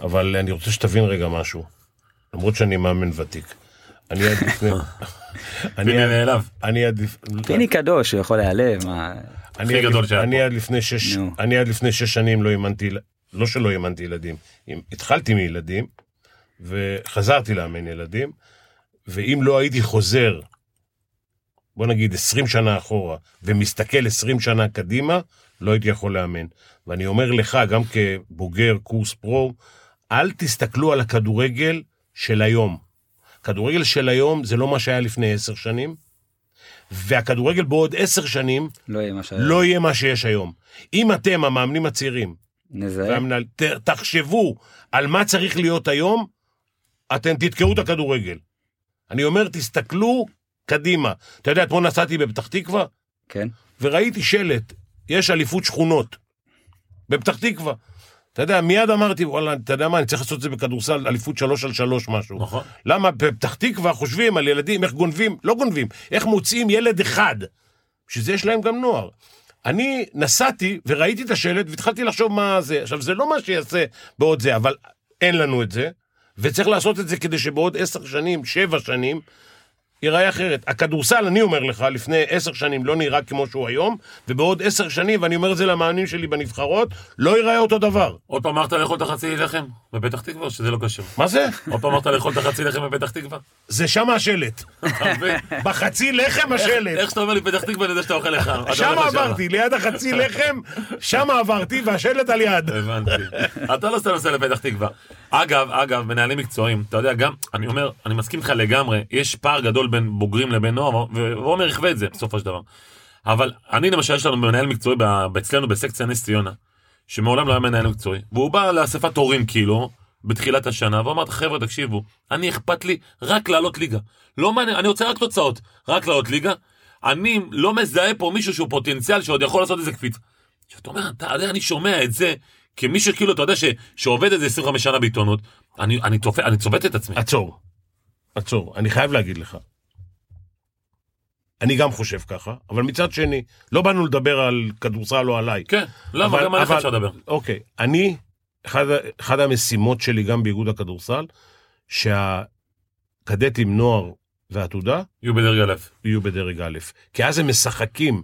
Speaker 3: אבל אני רוצה שתבין רגע משהו. למרות שאני מאמן ותיק. אני עד לפני...
Speaker 4: [laughs]
Speaker 3: אני
Speaker 2: פיני
Speaker 3: עד-
Speaker 2: נעלב.
Speaker 3: אני עד לפ-
Speaker 2: כן.
Speaker 4: פיני קדוש הוא יכול להיעלב. מה...
Speaker 3: אני
Speaker 2: הכי
Speaker 3: עד-
Speaker 2: גדול שהיה
Speaker 3: אני
Speaker 2: פה.
Speaker 3: עד לפני שש,
Speaker 4: נו.
Speaker 3: אני עד לפני שש שנים לא אימנתי, יל- לא שלא אימנתי ילדים, אם- התחלתי מילדים, וחזרתי לאמן ילדים, ואם לא הייתי חוזר, בוא נגיד 20 שנה אחורה, ומסתכל 20 שנה קדימה, לא הייתי יכול לאמן. ואני אומר לך, גם כבוגר קורס פרו, אל תסתכלו על הכדורגל של היום. הכדורגל של היום זה לא מה שהיה לפני עשר שנים, והכדורגל בעוד עשר שנים
Speaker 4: לא יהיה מה ש...
Speaker 3: לא יהיה מה שיש היום. אם אתם, המאמנים הצעירים,
Speaker 4: נזהה.
Speaker 3: והמנהל, ת- תחשבו על מה צריך להיות היום, אתם תתקעו את הכדורגל. אני אומר, תסתכלו קדימה. אתה יודע, אתמול נסעתי בפתח תקווה,
Speaker 4: כן.
Speaker 3: וראיתי שלט, יש אליפות שכונות, בפתח תקווה. אתה יודע, מיד אמרתי, וואלה, אתה יודע מה, אני צריך לעשות את זה בכדורסל, אליפות שלוש על שלוש משהו.
Speaker 2: נכון.
Speaker 3: למה בפתח תקווה חושבים על ילדים, איך גונבים, לא גונבים, איך מוציאים ילד אחד, בשביל זה יש להם גם נוער. אני נסעתי וראיתי את השלט והתחלתי לחשוב מה זה. עכשיו, זה לא מה שיעשה בעוד זה, אבל אין לנו את זה, וצריך לעשות את זה כדי שבעוד עשר שנים, שבע שנים, ייראה אחרת. הכדורסל, אני אומר לך, לפני עשר שנים לא נראה כמו שהוא היום, ובעוד עשר שנים, ואני אומר את זה למאמנים שלי בנבחרות, לא ייראה אותו דבר.
Speaker 2: עוד פעם אמרת לאכול את החצי לחם בפתח תקווה, או שזה לא קשור?
Speaker 3: מה זה?
Speaker 2: עוד פעם אמרת לאכול את החצי לחם בפתח תקווה?
Speaker 3: זה שם השלט.
Speaker 2: אתה
Speaker 4: [laughs]
Speaker 2: מבין?
Speaker 3: בחצי לחם השלט.
Speaker 2: איך שאתה אומר לי פתח תקווה, אני יודע שאתה אוכל לך. אתה
Speaker 3: שם
Speaker 2: הולך לשם.
Speaker 3: עברתי, ליד החצי לחם, שם עברתי, והשלט על יד.
Speaker 2: הבנתי. אתה לא סתם נוסע לפתח תקווה. אגב, אגב, מנהלים מקצועיים, אתה יודע, גם, אני אומר, אני מסכים איתך לגמרי, יש פער גדול בין בוגרים לבין נוער, ועומר יחווה את זה בסופו של דבר. אבל אני למשל, יש לנו מנהל מקצועי ב- אצלנו בסקציה נס ציונה, שמעולם לא היה מנהל מקצועי, והוא בא לאספת הורים כאילו, בתחילת השנה, ואמר, חבר'ה, תקשיבו, אני אכפת לי רק לעלות ליגה. לא מעניין, אני רוצה רק תוצאות, רק לעלות ליגה. אני לא מזהה פה מישהו שהוא פוטנציאל שעוד יכול לעשות איזה קפיץ. שאתה אומר, אתה יודע, אני שומע את זה, כמי שכאילו, אתה יודע, ש, שעובד איזה 25 שנה בעיתונות, אני, אני, צופ, אני צובט את עצמי.
Speaker 3: עצור. עצור. אני חייב להגיד לך. אני גם חושב ככה, אבל מצד שני, לא באנו לדבר על כדורסל או עליי.
Speaker 2: כן, למה?
Speaker 3: אבל-
Speaker 2: גם עליך
Speaker 3: אבל-
Speaker 2: אפשר לדבר.
Speaker 3: אוקיי, אני, אחד, ה- אחד המשימות שלי גם באיגוד הכדורסל, שהקדטים, נוער ועתודה,
Speaker 2: יהיו בדרג א'.
Speaker 3: יהיו בדרג א', כי אז הם משחקים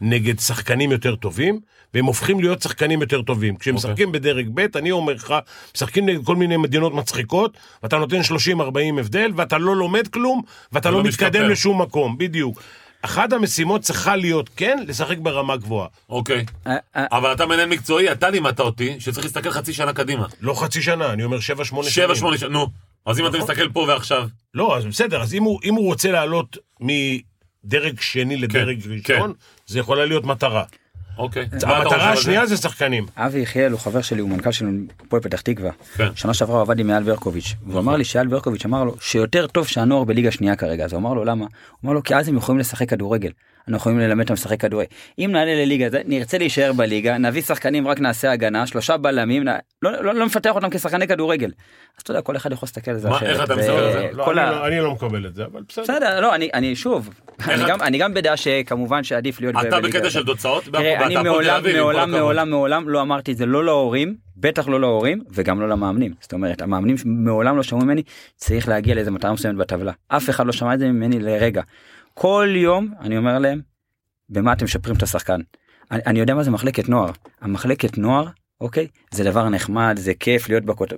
Speaker 3: נגד שחקנים יותר טובים, והם הופכים להיות שחקנים יותר טובים. כשהם
Speaker 2: אוקיי.
Speaker 3: משחקים בדרג ב', אני אומר לך, משחקים נגד כל מיני מדינות מצחיקות, ואתה נותן 30-40 הבדל, ואתה לא לומד כלום, ואתה לא
Speaker 2: ולא
Speaker 3: מתקדם
Speaker 2: משתפר.
Speaker 3: לשום מקום, בדיוק. אחת המשימות צריכה להיות, כן, לשחק ברמה גבוהה.
Speaker 2: אוקיי.
Speaker 4: אה, אה,
Speaker 2: אבל אתה מנהל מקצועי, אתה לימדת אותי שצריך להסתכל חצי שנה קדימה.
Speaker 3: לא חצי שנה, אני אומר 7-8 שנים. נכון.
Speaker 2: 7, 8 שנה, נו. אז אם אתה מסתכל פה ועכשיו,
Speaker 3: לא, אז בסדר, אז אם הוא, אם הוא רוצה לעלות מדרג שני לדרג
Speaker 2: כן,
Speaker 3: ראשון, זה יכולה להיות מטרה.
Speaker 2: אוקיי. מה אתה חושב
Speaker 3: אה, המטרה
Speaker 2: על זה?
Speaker 3: השנייה זה שחקנים.
Speaker 4: אבי יחיאל הוא חבר שלי, הוא מנכ"ל של הפועל פתח תקווה.
Speaker 2: כן.
Speaker 4: שנה שעברה הוא עבד עם אייל ברקוביץ', והוא אמר לי שאייל ברקוביץ' אמר לו שיותר טוב שהנוער בליגה שנייה כרגע, אז הוא אמר לו למה? הוא אמר לו כי אז הם יכולים לשחק כדורגל, אנחנו יכולים ללמד אותם לשחק כדורגל. אם נעלה לליגה, זה- נרצה להישאר בליגה, נביא שחקנים רק נעשה הגנה, שלושה בלמים, נ- לא- לא לא נפתח אותם כשחקני כדורגל. אז אתה יודע, כל אחד יכול להסתכל על זה
Speaker 2: מה,
Speaker 4: אחרת.
Speaker 2: איך אתה
Speaker 4: זה-
Speaker 2: מסתכל על זה?
Speaker 3: לא,
Speaker 4: כל
Speaker 3: אני,
Speaker 4: ה-
Speaker 3: לא, אני לא מקבל את זה, אבל בסדר.
Speaker 4: בסדר, לא, אני, אני שוב, אני, גם, אני גם בדעה שכמובן שעדיף להיות
Speaker 2: אתה
Speaker 4: בליגה
Speaker 2: בקטע
Speaker 4: הזאת.
Speaker 2: של תוצאות,
Speaker 4: תראה,
Speaker 2: ואתה
Speaker 4: אני
Speaker 2: פה תל
Speaker 4: מעולם,
Speaker 2: אביב, עם כל
Speaker 4: מעולם,
Speaker 2: הכבוד.
Speaker 4: מעולם, מעולם לא אמרתי את זה לא להורים, בטח לא להורים, וגם לא למאמנים. זאת אומרת, המאמנים מעולם לא שמעו ממני, צריך להגיע לאיזה מטרה מסוימת בטבלה. אף אחד לא שמע את זה ממני לרגע. כל יום אני אומר להם, במה אתם משפרים את השחקן. אני, אני יודע מה זה מחלקת נוער. המחלקת נוער, אוקיי, זה דבר נחמד, זה כיף להיות בכותב...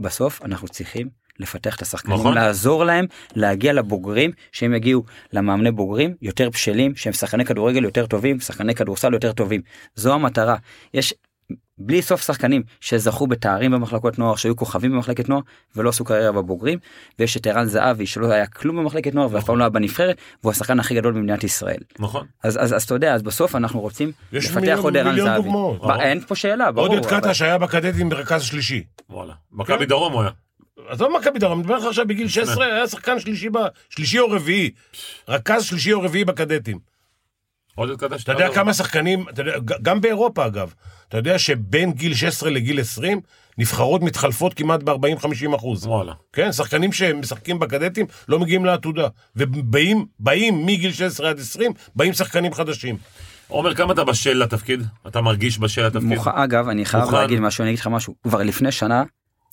Speaker 4: בסוף אנחנו צריכים לפתח את השחקנים,
Speaker 2: נכון.
Speaker 4: לעזור להם להגיע לבוגרים, שהם יגיעו למאמני בוגרים יותר בשלים, שהם שחקני כדורגל יותר טובים, שחקני כדורסל יותר טובים. זו המטרה. יש בלי סוף שחקנים שזכו בתארים במחלקות נוער, שהיו כוכבים במחלקת נוער, ולא עשו קריירה בבוגרים, ויש את ערן זהבי שלא היה כלום במחלקת נוער, ואף פעם לא היה בנבחרת, והוא השחקן הכי גדול במדינת ישראל.
Speaker 2: נכון.
Speaker 4: אז, אז, אז אתה יודע, אז בסוף אנחנו רוצים
Speaker 3: יש
Speaker 4: לפתח
Speaker 3: מיליון-
Speaker 4: עוד ערן
Speaker 3: מיליון
Speaker 4: זהבי.
Speaker 3: דוגמאות.
Speaker 4: מה, אין פה שאלה, ברור.
Speaker 3: עודד
Speaker 4: אבל-
Speaker 3: קטש היה בקדטים ברכז שלישי.
Speaker 2: וואלה.
Speaker 3: אה?
Speaker 2: מכבי דרום הוא היה.
Speaker 3: עזוב מכבי דרום, אני מדבר לך עכשיו בגיל 16, היה שחקן שלישי, ב... שלישי או רביעי. רכז שלישי או רביעי בקדטים.
Speaker 2: עודד קדש.
Speaker 3: אתה יודע כמה שחקנים, אתה יודע, ג- גם באירופה אגב, אתה יודע שבין גיל 16 לגיל 20 נבחרות מתחלפות כמעט ב-40-50 אחוז.
Speaker 2: וואלה.
Speaker 3: כן, שחקנים שמשחקים בקדטים לא מגיעים לעתודה. ובאים, באים מגיל 16 עד 20, באים שחקנים חדשים.
Speaker 2: עומר, כמה אתה בשל לתפקיד? אתה מרגיש בשל לתפקיד?
Speaker 4: מוכ... אגב אני חייב
Speaker 2: מוכן.
Speaker 4: להגיד משהו אני אגיד לך משהו כבר לפני שנה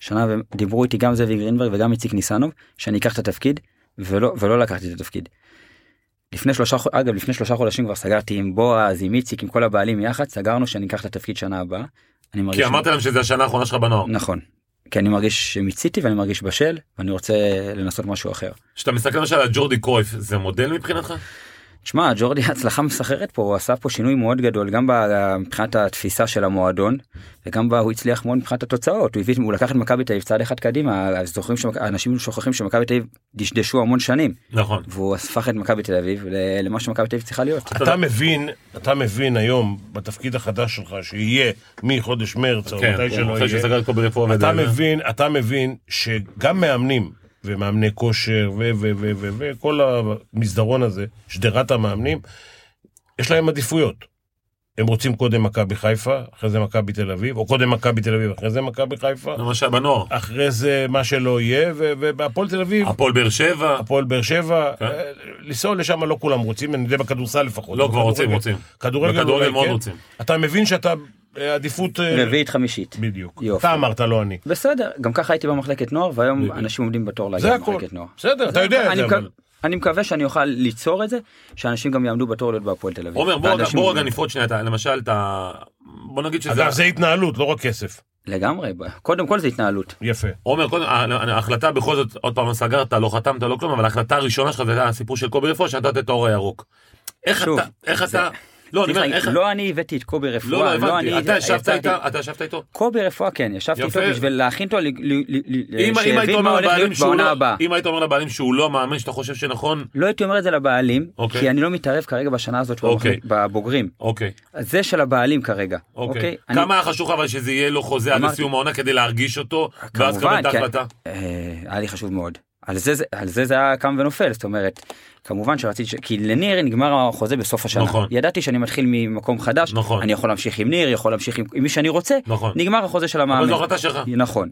Speaker 4: שנה דיברו איתי גם זאבי גרינברג וגם איציק ניסנוב שאני אקח את התפקיד ולא ולא לקחתי את התפקיד. לפני שלושה חו- אגב לפני שלושה חודשים כבר סגרתי עם בועז עם איציק עם כל הבעלים יחד סגרנו שאני אקח את התפקיד שנה הבאה. אני מרגיש
Speaker 2: כי אמרת להם שזו השנה האחרונה שלך בנוער.
Speaker 4: נכון כי אני מרגיש שמיציתי ואני מרגיש בשל ואני רוצה לנסות משהו אחר.
Speaker 2: כשאתה מסתכל למשל על ג'ורדי קרויף, זה מודל מבחינתך?
Speaker 4: שמע, ג'ורדי הצלחה מסחררת פה, הוא עשה פה שינוי מאוד גדול, גם ב- מבחינת התפיסה של המועדון, וגם בה הוא הצליח מאוד מבחינת התוצאות, הוא, הביא, הוא לקח את מכבי תל אביב צעד אחד קדימה, אז זוכרים שאנשים שוכחים שמכבי תל אביב דשדשו המון שנים,
Speaker 2: נכון.
Speaker 4: והוא הפך את מכבי תל אביב ל- למה שמכבי תל אביב צריכה להיות.
Speaker 3: אתה מבין, אתה מבין היום, בתפקיד החדש שלך, שיהיה מחודש מרץ, או
Speaker 2: כן,
Speaker 3: לא, מתי שלא
Speaker 2: אחרי
Speaker 3: יהיה,
Speaker 2: שסגרת פה ברפואה
Speaker 3: אתה
Speaker 2: מדעי,
Speaker 3: מבין, אתה מבין שגם מאמנים ומאמני כושר ו- ו- ו- ו- וכל המסדרון הזה, שדרת המאמנים, יש להם עדיפויות. הם רוצים קודם מכבי חיפה, אחרי זה מכבי תל אביב, או קודם מכבי תל אביב, אחרי זה מכבי חיפה,
Speaker 2: זה מה שהיה בנוער.
Speaker 3: אחרי זה מה שלא יהיה, ו- ובהפועל תל אביב,
Speaker 2: הפועל באר שבע,
Speaker 3: הפועל באר שבע,
Speaker 2: כן.
Speaker 3: אה, לנסוע לשם לא כולם רוצים, אני יודע בכדורסל לפחות.
Speaker 2: לא, כבר רוצים,
Speaker 3: בכדורגל-
Speaker 2: רוצים.
Speaker 3: כדורגל
Speaker 2: בכדורגל
Speaker 3: אולי
Speaker 2: מאוד
Speaker 3: כן.
Speaker 2: רוצים.
Speaker 3: אתה מבין שאתה אה, עדיפות... אה,
Speaker 4: רביעית חמישית.
Speaker 3: בדיוק.
Speaker 4: יופי.
Speaker 3: אתה אמרת, לא אני.
Speaker 4: בסדר, גם ככה הייתי במחלקת נוער, והיום אנשים עומדים בתור להגיע
Speaker 3: זה הכל.
Speaker 4: למחלקת נוער.
Speaker 3: בסדר, אתה יודע את
Speaker 4: אני
Speaker 3: זה,
Speaker 4: מקו-
Speaker 3: אבל...
Speaker 4: אני מקווה שאני אוכל ליצור את זה, שאנשים גם יעמדו בתור להיות בהפועל תל אביב.
Speaker 2: עומר, בוא רגע-
Speaker 4: ואנשים
Speaker 2: בוא רגע
Speaker 4: עומדים.
Speaker 2: נפרוט שנייה, אתה- למשל, אתה... בוא נגיד שזה...
Speaker 3: אגב, זה התנהלות, לא רק כסף.
Speaker 4: לגמרי, קודם כל זה התנהלות.
Speaker 3: יפה.
Speaker 2: עומר, קודם, ה- ההחלטה בכל זאת, עוד פעם לא סגרת, לא חתמת, לא כלום, אבל ההחלטה הראשונה שלך זה היה הסיפור של קובי רפואה, שנתת את האור הירוק. איך
Speaker 4: שוב,
Speaker 2: אתה, איך
Speaker 4: זה-
Speaker 2: אתה, לא, אני
Speaker 4: סליחה,
Speaker 2: אומר, איך, לא,
Speaker 4: לא אני הבאתי את קובי רפואה,
Speaker 2: לא, הבנתי,
Speaker 4: אני
Speaker 2: אתה ישבת
Speaker 4: יצאתי-
Speaker 2: איתה, אתה ישבת איתו?
Speaker 4: קובי רפואה כן, ישבתי
Speaker 2: יפה.
Speaker 4: איתו בשביל להכין אותו, ל- ל- ל- ל-
Speaker 2: אם אם היית
Speaker 4: שיבין אה, מה
Speaker 2: אומר
Speaker 4: הולך
Speaker 2: לבעלים
Speaker 4: להיות
Speaker 2: שהוא
Speaker 4: בעונה
Speaker 2: לא-
Speaker 4: הבאה.
Speaker 2: אם היית אומר לבעלים שהוא לא מאמן שאתה חושב שנכון,
Speaker 4: לא הייתי אומר את זה לבעלים,
Speaker 2: אוקיי.
Speaker 4: כי אני לא מתערב כרגע בשנה הזאת
Speaker 2: אוקיי.
Speaker 4: במחלק- בבוגרים.
Speaker 2: אוקיי,
Speaker 4: אז זה של הבעלים כרגע.
Speaker 2: אוקיי.
Speaker 4: אני-
Speaker 2: כמה היה חשוב לך אבל שזה יהיה לו חוזה עד
Speaker 4: אמרתי-
Speaker 2: לסיום העונה כדי להרגיש אותו, ואז
Speaker 4: כמובן,
Speaker 2: קבל את
Speaker 4: כן.
Speaker 2: ההחלטה?
Speaker 4: אה, היה לי חשוב מאוד. על זה, זה- על זה זה היה קם ונופל, זאת אומרת, כמובן שרציתי, ש... כי לניר נגמר החוזה בסוף השנה.
Speaker 2: נכון.
Speaker 4: ידעתי שאני מתחיל ממקום חדש,
Speaker 2: נכון.
Speaker 4: אני יכול להמשיך עם ניר, יכול להמשיך עם, עם מי שאני רוצה,
Speaker 2: נכון.
Speaker 4: נגמר החוזה של המאמן.
Speaker 2: אבל זו החלטה שלך.
Speaker 4: [laughs] נכון.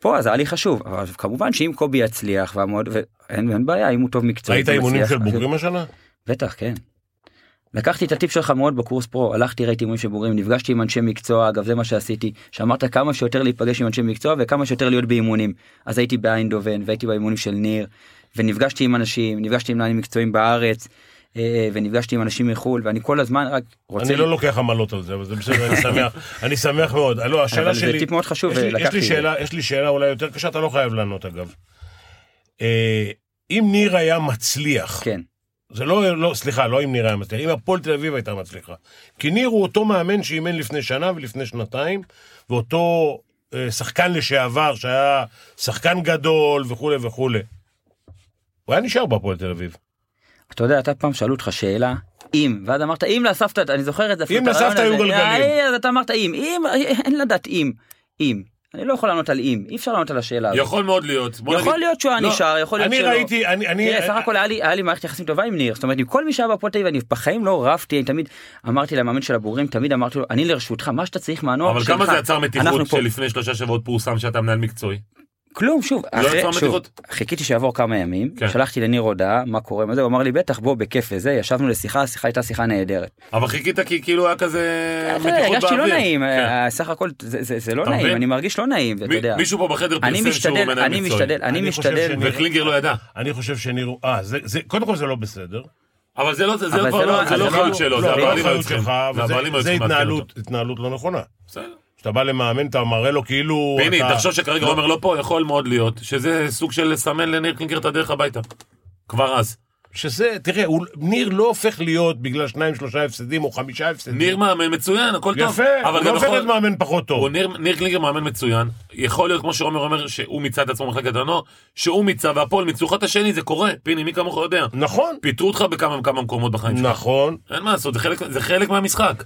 Speaker 4: פה אז היה לי חשוב, אבל כמובן שאם קובי יצליח והמועד, ואין אין בעיה, אם הוא טוב מקצועית.
Speaker 3: ראית
Speaker 4: הוא
Speaker 3: אימונים
Speaker 4: מצליח,
Speaker 3: של
Speaker 4: אז-
Speaker 3: בוגרים השנה?
Speaker 4: בטח, כן. לקחתי את הטיפ שלך מאוד בקורס פרו, הלכתי ראיתי אימונים של בוגרים, נפגשתי עם אנשי מקצוע, אגב זה מה שעשיתי, שאמרת כמה שיותר להיפגש עם אנשי מקצוע וכמה שיותר להיות באימונים. אז הייתי באיינדובן והייתי באימונים של ניר, ונפגשתי עם אנשים, נפגשתי עם מנהלים מקצועיים בארץ, אה, ונפגשתי עם אנשים מחו"ל, ואני כל הזמן רק רוצה...
Speaker 3: אני לא לוקח עמלות על זה, אבל זה בסדר, אני
Speaker 4: [laughs]
Speaker 3: שמח. אני שמח מאוד. לא,
Speaker 4: אבל
Speaker 3: השאלה
Speaker 4: זה
Speaker 3: שלי...
Speaker 4: טיפ מאוד חשוב,
Speaker 3: יש לי- יש
Speaker 4: ולקחתי
Speaker 3: לי
Speaker 4: את זה.
Speaker 3: שאלה, יש לי שאלה אולי יותר קשה, אתה לא חייב לענות אגב. אה, אם ניר היה מצליח,
Speaker 4: כן,
Speaker 3: זה לא, לא, סליחה, לא אם ניר היה מצליח, אם הפועל תל אביב הייתה מצליחה. כי ניר הוא אותו מאמן שאימן לפני שנה ולפני שנתיים, ואותו אה, שחקן לשעבר שהיה שחקן גדול וכולי וכולי. הוא היה נשאר בהפועל תל אביב.
Speaker 4: אתה יודע, אתה פעם שאלו אותך שאלה, אם, ואז אמרת אם לסבתא, אני זוכר את זה, אפילו
Speaker 3: אם
Speaker 4: את הרעיון
Speaker 3: לסבתא
Speaker 4: הזה.
Speaker 3: היו גלגלים.
Speaker 4: אה, אז אתה אמרת אם, אם, אין לדעת אם, אם. אני לא יכול לענות על אם, אי אפשר לענות על השאלה הזאת.
Speaker 2: יכול מאוד להיות. בוא
Speaker 4: יכול
Speaker 2: נגיד-
Speaker 4: להיות שהוא היה
Speaker 2: לא,
Speaker 4: נשאר, יכול להיות
Speaker 3: אני
Speaker 4: שלא.
Speaker 3: ראיתי, אני... אני- אה,
Speaker 4: תראה, סך הכל היה לי- היה לי מערכת יחסים טובה עם ניר, זאת אומרת, עם כל מי שהיה בהפועל תל אביב, אני בחיים לא רבתי, אני תמיד אמרתי למאמן של הבוגרים, תמיד אמרתי לו, אני לרשותך, מה שאתה צריך מהנוער
Speaker 2: אבל
Speaker 4: שלך.
Speaker 2: כמה זה יצר
Speaker 4: אנחנו
Speaker 2: מתיחות
Speaker 4: פה."
Speaker 2: שלפני שלושה שבועות פורסם שאתה מנהל מקצועי?
Speaker 4: כלום, שוב, אחרי-
Speaker 2: לא יצר
Speaker 4: שוב,
Speaker 2: מתיחות?
Speaker 4: חיכיתי שיעבור כמה ימים,
Speaker 2: כן.
Speaker 4: שלחתי לניר הודעה, מה קורה, מה זה, הוא אמר לי, בטח, בוא, בכיף וזה, ישבנו לשיחה, השיחה הייתה שיחה נהדרת.
Speaker 2: אבל חיכית כי כאילו היה כזה
Speaker 4: אתה יודע,
Speaker 2: מתיחות באוויר.
Speaker 4: הרגשתי לא נעים,
Speaker 2: כן.
Speaker 4: אה, סך הכל זה- זה זה לא
Speaker 2: אתה מבין?
Speaker 4: נעים, אני מרגיש לא נעים, ואתה
Speaker 2: מי-
Speaker 4: יודע.
Speaker 2: מישהו פה בחדר
Speaker 4: אני
Speaker 2: פרסם שהוא
Speaker 4: משתדל,
Speaker 2: מנהל
Speaker 4: אני
Speaker 2: מקצועי.
Speaker 4: משתדל, אני
Speaker 3: אני חושב
Speaker 4: משתדל,
Speaker 3: שאני-
Speaker 2: וקלינגר לא ידע.
Speaker 3: אני חושב שניר... הוא- אה, זה, זה, קודם כל זה לא בסדר.
Speaker 2: אבל זה לא, זה, זה
Speaker 4: אבל
Speaker 2: כבר
Speaker 4: זה
Speaker 2: לא,
Speaker 4: לא-
Speaker 2: זה לא
Speaker 4: אבל זה
Speaker 2: אחריות
Speaker 4: לא-
Speaker 2: שלו,
Speaker 4: לא,
Speaker 2: זה
Speaker 4: זה לא
Speaker 2: הבעלים היו
Speaker 3: אחריות
Speaker 2: צריכים.
Speaker 3: שלך, אבל
Speaker 2: זה
Speaker 3: זה-
Speaker 2: הבעלים היו
Speaker 3: זה
Speaker 2: צריכים לעדכן אותו.
Speaker 3: התנהלות, התנהלות לא נכונה.
Speaker 2: בסדר.
Speaker 3: כשאתה בא למאמן, אתה מראה לו כאילו...
Speaker 2: פיני,
Speaker 3: אתה-
Speaker 2: תחשוב שכרגע עומר לא פה, יכול מאוד להיות שזה סוג של לסמן לניר קלינגר את הדרך הביתה. כבר אז.
Speaker 3: שזה, תראה, הוא, ניר לא הופך להיות בגלל שניים, שלושה הפסדים או חמישה הפסדים.
Speaker 2: ניר מאמן מצוין, הכל טוב.
Speaker 3: יפה, הוא
Speaker 2: אבל
Speaker 3: לא
Speaker 2: גם
Speaker 3: הופך להיות
Speaker 2: יכול...
Speaker 3: מאמן פחות
Speaker 2: הוא
Speaker 3: טוב.
Speaker 2: ניר, ניר קלינגר מאמן מצוין, יכול להיות כמו שעומר אומר שהוא מיצה את עצמו במחלקת הנוער, שהוא מיצה והפועל מיצו אחד את השני, זה קורה, פיני, מי כמוך יודע.
Speaker 3: נכון,
Speaker 2: פיטרו אותך בכמה וכמה מקומות בחיים שלך.
Speaker 3: נכון.
Speaker 2: אין מה לעשות, זה חלק, זה חלק מהמשחק.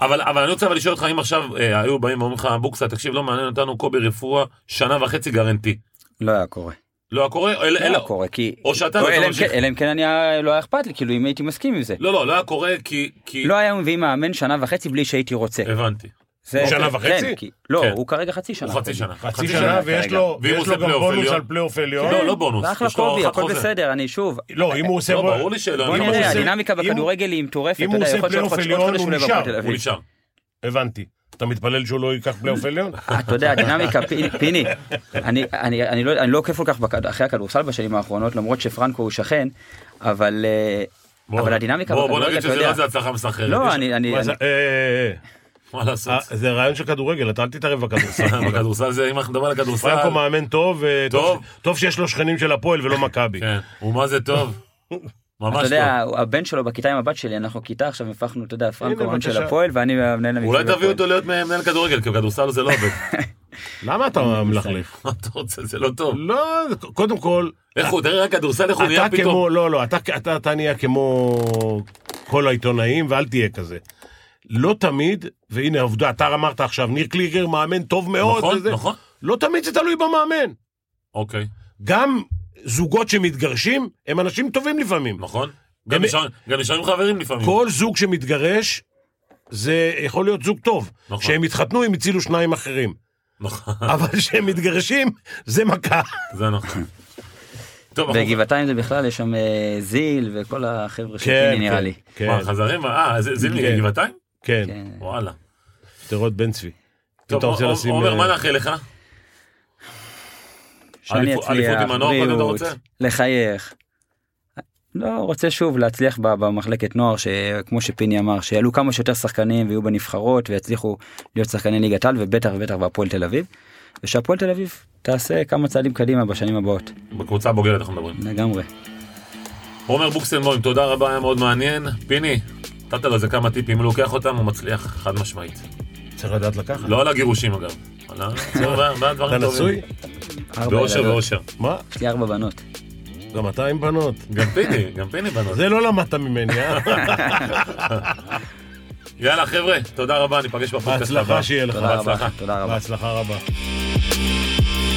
Speaker 2: אבל, אבל אני רוצה אבל לשאול אותך אם עכשיו אה, היו באים ואומרים לך, בוקסה, תקשיב, לא מעניין אותנו קובי רפואה, שנה וחצי גרנטי.
Speaker 4: לא היה קורה.
Speaker 2: לא היה קורה? אלא,
Speaker 4: לא
Speaker 2: אלא,
Speaker 4: היה קורה, כי...
Speaker 2: או שאתה
Speaker 4: לא,
Speaker 2: ואתה
Speaker 4: אלא אם
Speaker 2: ממשיך.
Speaker 4: כן- אלא אם כן אני היה- לא היה אכפת לי, כאילו אם הייתי מסכים עם זה.
Speaker 2: לא, לא, לא היה קורה לא כי... כי...
Speaker 4: לא היה מביאים מאמן שנה וחצי בלי שהייתי רוצה.
Speaker 2: הבנתי.
Speaker 4: זה-
Speaker 3: שנה
Speaker 4: כן,
Speaker 3: וחצי?
Speaker 4: כי- לא,
Speaker 2: כן.
Speaker 4: הוא כרגע חצי שנה. כן.
Speaker 2: הוא חצי שנה.
Speaker 3: לא- חצי שנה ויש
Speaker 4: כרגע.
Speaker 3: לו
Speaker 2: ואם הוא
Speaker 3: ויש לו
Speaker 2: עושה
Speaker 3: גם
Speaker 2: פלייאוף
Speaker 3: בונוס
Speaker 2: עליון?
Speaker 3: על פלייאוף עליון.
Speaker 2: לא, לא בונוס.
Speaker 4: ואחלה
Speaker 2: יש לו
Speaker 4: קובי,
Speaker 2: הארכת
Speaker 4: הכל
Speaker 2: חוזה.
Speaker 4: בסדר, אני שוב,
Speaker 3: לא, אם הוא עושה...
Speaker 2: לא,
Speaker 3: בונ-
Speaker 2: ברור לי שלא,
Speaker 3: בוא
Speaker 2: אני
Speaker 3: אם
Speaker 2: אומר,
Speaker 3: הוא
Speaker 4: נראה,
Speaker 3: עושה-
Speaker 4: הדינמיקה
Speaker 3: אם הוא-
Speaker 4: בכדורגל היא מטורפת,
Speaker 3: אם הוא
Speaker 4: אתה יודע,
Speaker 3: עושה
Speaker 4: יכול להיות
Speaker 3: פלייאוף
Speaker 4: שעוד חודש- עוד
Speaker 3: עליון,
Speaker 4: חודש
Speaker 3: הוא
Speaker 4: הוא לא יהיה בהפועל
Speaker 3: נשאר.
Speaker 4: תל
Speaker 2: הוא
Speaker 4: אביב.
Speaker 2: נשאר.
Speaker 3: הבנתי. אתה מתפלל שהוא לא ייקח פלייאוף עליון?
Speaker 4: אתה יודע, הדינמיקה, פיני- פיני, אני- אני אני לא אני לא עוקב כל כך בכד- אחרי הכדורסל בשנים האחרונות, למרות שפרנקו הוא שכן, אבל אה, אבל הדינמיקה
Speaker 2: בוא, בוא
Speaker 4: בכדורגל,
Speaker 2: נגיד
Speaker 4: אתה
Speaker 2: שזה לא
Speaker 4: יודע,
Speaker 2: איזה הצלחה מסחררת.
Speaker 4: לא,
Speaker 2: יש-
Speaker 4: אני, אני,
Speaker 3: מה זה-
Speaker 4: אני-
Speaker 3: אה, אה,
Speaker 2: מה לעשות?
Speaker 3: אה, אה, זה רעיון של כדורגל, אתה אל תתערב
Speaker 2: [laughs]
Speaker 3: בכדורסל.
Speaker 4: אה,
Speaker 2: בכדורסל זה, אם אנחנו מדברים על הכדורסל...
Speaker 3: פרנקו מאמן טוב, אה,
Speaker 2: טוב.
Speaker 3: טוב שיש לו שכנים של הפועל ולא מכבי.
Speaker 2: כן, הוא מה זה
Speaker 4: [laughs]
Speaker 2: טוב. ממש
Speaker 4: אתה
Speaker 2: טוב.
Speaker 4: יודע, הבן שלו בכיתה עם הבת שלי, אנחנו כיתה עכשיו הפכנו, אתה יודע, פרנקו מן של
Speaker 3: בבקשה.
Speaker 4: הפועל, ואני המנהל המקצועי.
Speaker 2: אולי תביאו
Speaker 4: בהפועל.
Speaker 2: אותו להיות מנהל כדורגל, כי בכדורסל זה לא עובד.
Speaker 3: למה אתה מלכלך?
Speaker 2: מה [laughs] אתה רוצה? זה לא טוב.
Speaker 3: לא, זה- קודם כל,
Speaker 2: איך הוא, תראה רק כדורסל, איך הוא נהיה
Speaker 3: אתה
Speaker 2: פתאום.
Speaker 3: כמו, לא, לא, אתה, אתה, אתה נהיה כמו כל העיתונאים, ואל תהיה כזה. לא תמיד, והנה העובדה, אתה אמרת עכשיו, ניר קליגר מאמן טוב מאוד.
Speaker 2: נכון,
Speaker 3: וזה,
Speaker 2: נכון.
Speaker 3: לא תמיד זה תלוי במאמן.
Speaker 2: אוקיי,
Speaker 3: גם זוגות שמתגרשים, הם אנשים טובים לפעמים.
Speaker 2: נכון. גם
Speaker 3: באמת-
Speaker 2: נשאר- גם נשארים חברים לפעמים.
Speaker 3: כל זוג שמתגרש, זה יכול להיות זוג טוב.
Speaker 2: נכון.
Speaker 3: כשהם התחתנו, הם הצילו שניים אחרים.
Speaker 2: נכון, [laughs]
Speaker 3: אבל כשהם מתגרשים, זה מכה.
Speaker 2: זה נכון. טוב, אנחנו-
Speaker 4: בגבעתיים זה בכלל, יש שם אה, זיל וכל החבר'ה של פיני נראה לי.
Speaker 3: כן,
Speaker 2: מה, חזרים? אה, זה זה
Speaker 3: כן.
Speaker 2: מגבעתיים?
Speaker 3: כן,
Speaker 4: כן.
Speaker 2: וואלה.
Speaker 3: שדרות בן צבי. אם
Speaker 2: טוב,
Speaker 3: אתה רוצה
Speaker 2: עומר,
Speaker 3: לשים...
Speaker 2: עומר,
Speaker 3: אה,
Speaker 2: מה נאחל לך?
Speaker 4: שאני
Speaker 2: אליפות- אליפות
Speaker 4: אצליח,
Speaker 2: עם הנוער, קודם אתה
Speaker 4: בריאות,
Speaker 2: רוצה?
Speaker 4: לחייך. לא, רוצה שוב להצליח ב- במחלקת נוער, שכמו שפיני אמר, שיעלו כמה שיותר שחקנים ויהיו בנבחרות ויצליחו להיות שחקני ליגת על, ובטח ובטח בהפועל תל אביב. ושהפועל תל אביב תעשה כמה צעדים קדימה בשנים הבאות,
Speaker 2: בקבוצה הבוגרת אנחנו מדברים.
Speaker 4: לגמרי.
Speaker 2: עומר בוקסנבוים, תודה רבה, היה מאוד מעניין. פיני, נתת לו איזה כמה טיפים, אם הוא לוקח אותם, הוא מצליח, חד משמעית.
Speaker 3: צריך לדעת לקחת.
Speaker 2: לא אה, על הגירושים אגב. על
Speaker 3: [laughs]
Speaker 2: ה- זה מה- מה הדברים
Speaker 3: לא. אתה
Speaker 2: הטובים.
Speaker 3: נשוי? אה,
Speaker 4: ארבע
Speaker 2: באושר
Speaker 4: ילדות.
Speaker 2: באושר.
Speaker 3: מה?
Speaker 4: יש לי ארבע בנות.
Speaker 3: גם אתה עם בנות.
Speaker 2: גם פיני, גם פיני בנות.
Speaker 3: זה לא למדת ממני,
Speaker 2: [laughs]
Speaker 3: אה?
Speaker 2: יאללה חבר'ה, תודה רבה, ניפגש בפודקאסט הבא.
Speaker 3: בהצלחה שיהיה לך.
Speaker 4: תודה רבה.
Speaker 2: בהצלחה.
Speaker 4: תודה רבה.
Speaker 3: בהצלחה רבה.